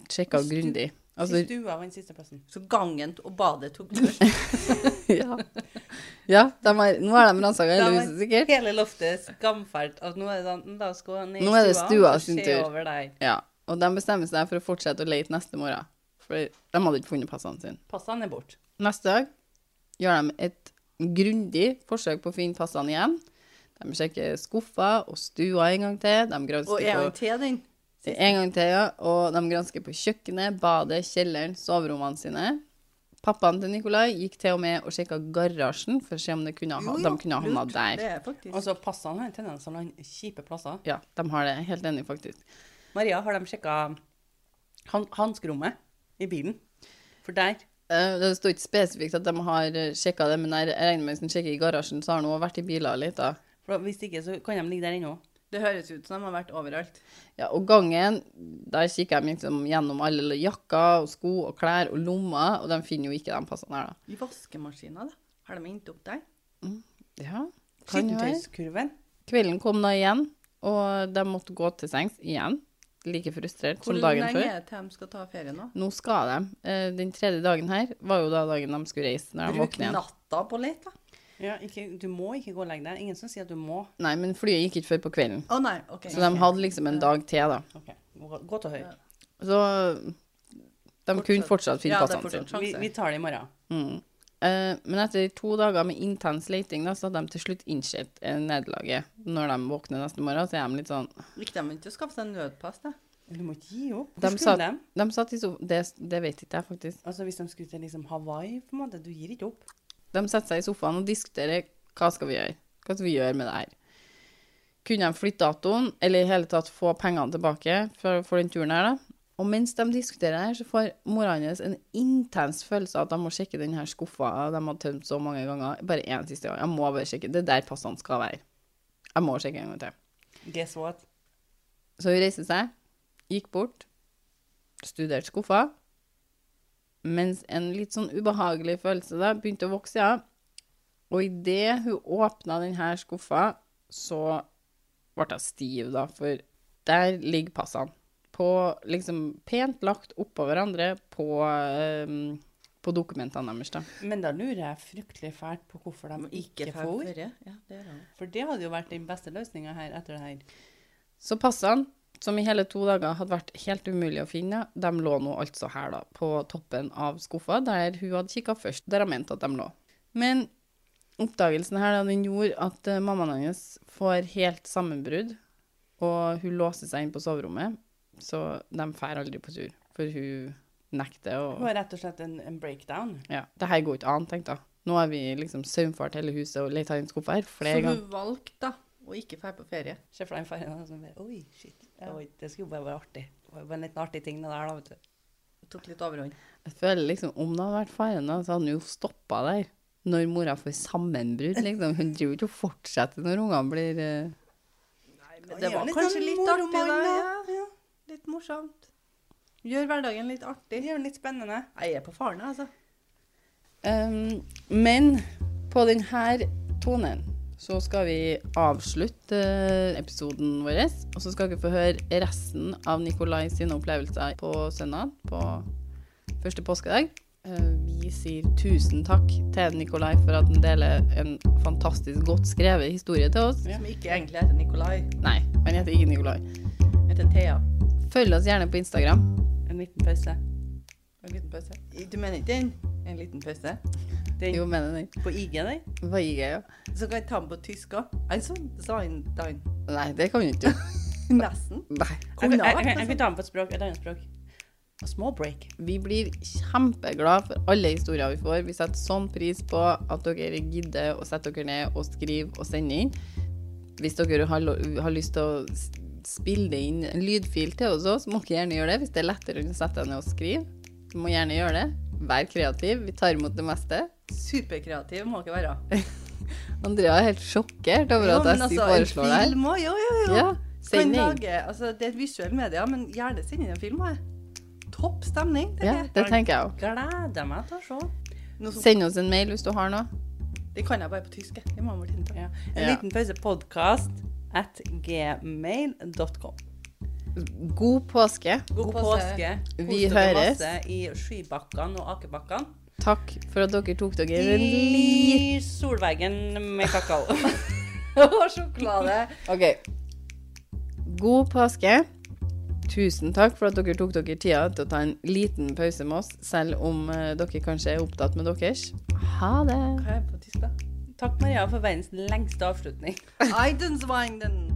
S1: sjekka eh, grundig. Altså, <laughs>
S3: Stua vant sisteplassen.
S2: Så gangen og badet tok først.
S1: ja. ja de har, nå har de ransaka hele huset, sikkert.
S3: Hele loftet skamfælt. Altså, nå er det sånn, la oss gå ned i
S1: Nå er det stua
S3: og
S1: sin
S3: se
S1: tur.
S3: over der.
S1: Ja. Og de bestemmer seg for å fortsette å lete neste morgen. For de hadde ikke funnet passene sine.
S3: Passene er bort.
S1: Neste dag gjør de et grundig forsøk på å finne passene igjen. De sjekker skuffer og stua en gang til. De
S2: Og
S1: gransker
S2: en gang
S1: på,
S2: til den.
S1: en gang til, ja. Og de gransker på kjøkkenet, badet, kjelleren, soverommene sine. Pappaen til Nikolai gikk til og med og sjekka garasjen for å se om det kunne ha, de kunne ha havna
S2: lurt.
S1: der.
S2: Det er faktisk.
S3: Og så passene har en tendens til å lande kjipe plasser.
S1: Ja, de har det. Helt enig, faktisk.
S3: Maria, har de sjekka han hanskerommet i bilen? For der
S1: Eh, Det står ikke spesifikt at de har sjekka det, men jeg regner med hvis de sjekker i garasjen, så har han også vært i biler litt, da.
S3: for Hvis ikke, så kan de ligge der ennå.
S2: det høres ut som de har vært overalt.
S1: Ja, og gangen, der kikker de liksom gjennom alle jakker og sko og klær og lommer, og de finner jo ikke de passene her, da.
S2: I vaskemaskina, da. Har de endt opp der?
S1: Ja, kan jo være.
S3: Skittentøyskurven.
S1: Kvelden kom da igjen, og de måtte gå til sengs igjen. Like frustrert
S2: Hvor
S1: som dagen
S2: lenge
S1: før.
S2: er det til de skal ta ferie nå?
S1: Nå skal de. Eh, Den tredje dagen her var jo da dagen de skulle reise, når de
S2: Bruk
S1: våkner igjen.
S2: natta på lek, da.
S3: Ja, ikke- du må ikke gå og legge deg. Ingen som sier at du må.
S1: Nei, men flyet gikk ikke før på kvelden.
S2: Å nei, OK.
S1: Så de hadde liksom en dag til, da.
S3: Ok, gå- Gå til høyre.
S1: Så de kunne fortsatt finne
S2: Ja, det er
S1: passene sine.
S2: fortsatt.
S3: Vi,
S2: Sjanse.
S3: vi tar det i morgen.
S1: Mm. Eh, men etter to dager med intens leting, da, så hadde de til slutt innsett eh, nederlaget. Når de våkner neste morgen, så er de litt sånn
S2: Gikk de ikke og skaffe seg en nødpass, da?
S3: Du må ikke gi opp. Hvor
S1: De
S3: skulle
S1: sa-
S3: de?
S1: De satt i sofaen det, det vet ikke jeg, faktisk.
S3: Altså, hvis de skulle til liksom Hawaii, på en måte. Du gir ikke opp.
S1: De setter seg i sofaen og diskuterer hva skal vi gjøre. Hva skal vi gjøre med det her? Kunne de flytte datoen, eller i hele tatt få pengene tilbake for, for den turen her, da? Og mens de diskuterer det her, så får mora hans en intens følelse av at de må sjekke den her skuffa de har tømt så mange ganger. Bare én siste gang. Jeg må bare sjekke. Det er der passene skal være. Jeg må sjekke en gang til.
S3: Guess what?
S1: Så hun reiste seg, gikk bort, studerte skuffa, mens en litt sånn ubehagelig følelse da begynte å vokse, ja. Og idet hun åpna denne skuffa, så ble hun stiv, da, for der ligger passene. På, liksom, pent lagt oppå hverandre på, eh, på dokumentene deres. Da.
S3: Men da lurer jeg fryktelig fælt på hvorfor de ikke får.
S2: ferie. Ja, det er det.
S3: For det hadde jo vært den beste løsninga her etter det her.
S1: Så passene, som i hele to dager hadde vært helt umulig å finne, de lå nå altså her da, på toppen av skuffa, der hun hadde kikka først, der hun mente at de lå. Men oppdagelsen her da, den gjorde at eh, mammaen hennes får helt sammenbrudd, og hun låser seg inn på soverommet, så de fær aldri på tur, for hun nekter å...
S3: Det var rett og slett en, en breakdown.
S1: Ja, det her går ikke an, tenkte jeg. Nå har vi liksom saumfart hele huset og leita inn skuffa her flere
S2: Så
S1: ganger.
S2: hun valgte, da, å ikke dra på ferie.
S3: Se for deg en far og sånn bare, Oi, shit. Det var- Det skulle bare være artig. Det var bare en liten artig ting det der, da, vet du.
S2: Hun tok litt overhånd.
S1: Jeg føler liksom, om det hadde vært faren da, så hadde han jo stoppa der. Når mora får sammenbrudd, liksom. Hun driver ikke og fortsetter når ungene blir eh,
S2: Men det var kanskje litt sånn artig, da. Ja, litt morsomt. Gjør hverdagen litt
S3: Det
S2: artig.
S3: gjør det litt spennende.
S2: Nei, Jeg er på faren, altså.
S1: Ehm, Men på denne tonen så skal vi avslutte eh, episoden vår. Og så skal dere få høre resten av Nikolai sine opplevelser på søndag, på første påskedag. Eh, Vi sier tusen takk til Nikolai for at han deler en fantastisk godt skrevet historie til oss.
S2: Som ikke egentlig heter Nikolai.
S1: Nei, han heter ikke Nikolai.
S2: Heter Thea.
S1: Følg oss gjerne på Instagram.
S3: En liten pause.
S2: En liten pause. Du mener ikke den? En liten pause.
S3: Den
S1: Jo, mener den.
S3: på IG der.
S1: Hva gikk jeg, ja?
S2: Så kan jeg ta den på tysk òg. Altså, sein, dein.
S1: Nei, det kan vi ikke
S2: <laughs>
S1: gjøre.
S2: Nesten.
S1: Nei.
S3: Jeg, jeg,
S2: Kunne ha
S3: jeg, jeg,
S2: vært
S3: kan
S2: sånn.
S3: ta den på et språk, et annet språk. A small break.
S1: Vi blir kjempeglad for alle historier vi får. Vi setter sånn pris på at dere gidder å sette dere ned og skrive og sende inn. Hvis dere har, lo- har lyst til å s- spille det inn en lydfil til oss også, så må dere gjerne gjøre det. Hvis det er lettere enn å sette deg ned og skrive, så må gjerne gjøre det. Vær kreativ. Vi tar imot det meste.
S2: Superkreativ må dere være.
S1: Andrea er helt sjokkert over at
S2: Jo, men
S1: jeg
S2: altså,
S1: sier- foreslår det
S2: en
S1: her.
S2: film òg, jo, jo, jo.
S1: Ja,
S2: Kan
S1: send inn.
S2: lage, altså, det er et visuelt medie, men gjerne send inn en film. jeg. Topp stemning. tenker
S1: Ja,
S2: jeg.
S1: det tenker jeg òg.
S3: Gleder meg til å se.
S2: Noe som,
S1: Send oss en mail hvis du har noe.
S2: det kan jeg bare på tysk. jeg. Det må jeg bare finne på.
S3: Ja. En
S1: Ja.
S3: liten pause podcast at gmail.com.
S1: God påske.
S3: God,
S2: God
S3: påske.
S1: Vi
S3: Kos dere
S1: høres.
S3: masse i skybakkene og akebakkene.
S1: Takk for at dere tok dere en liten
S3: I solveggen med kakao. <laughs>
S2: Og sjokolade.
S1: <laughs> OK. God påske. Tusen takk for at dere tok dere tida til å ta en liten pause med oss, selv om eh, dere kanskje er opptatt med deres. Ha det.
S2: Hva er det på tysk, da?
S3: Takk, Maria, for verdens lengste avslutning.
S2: Eidensweinen.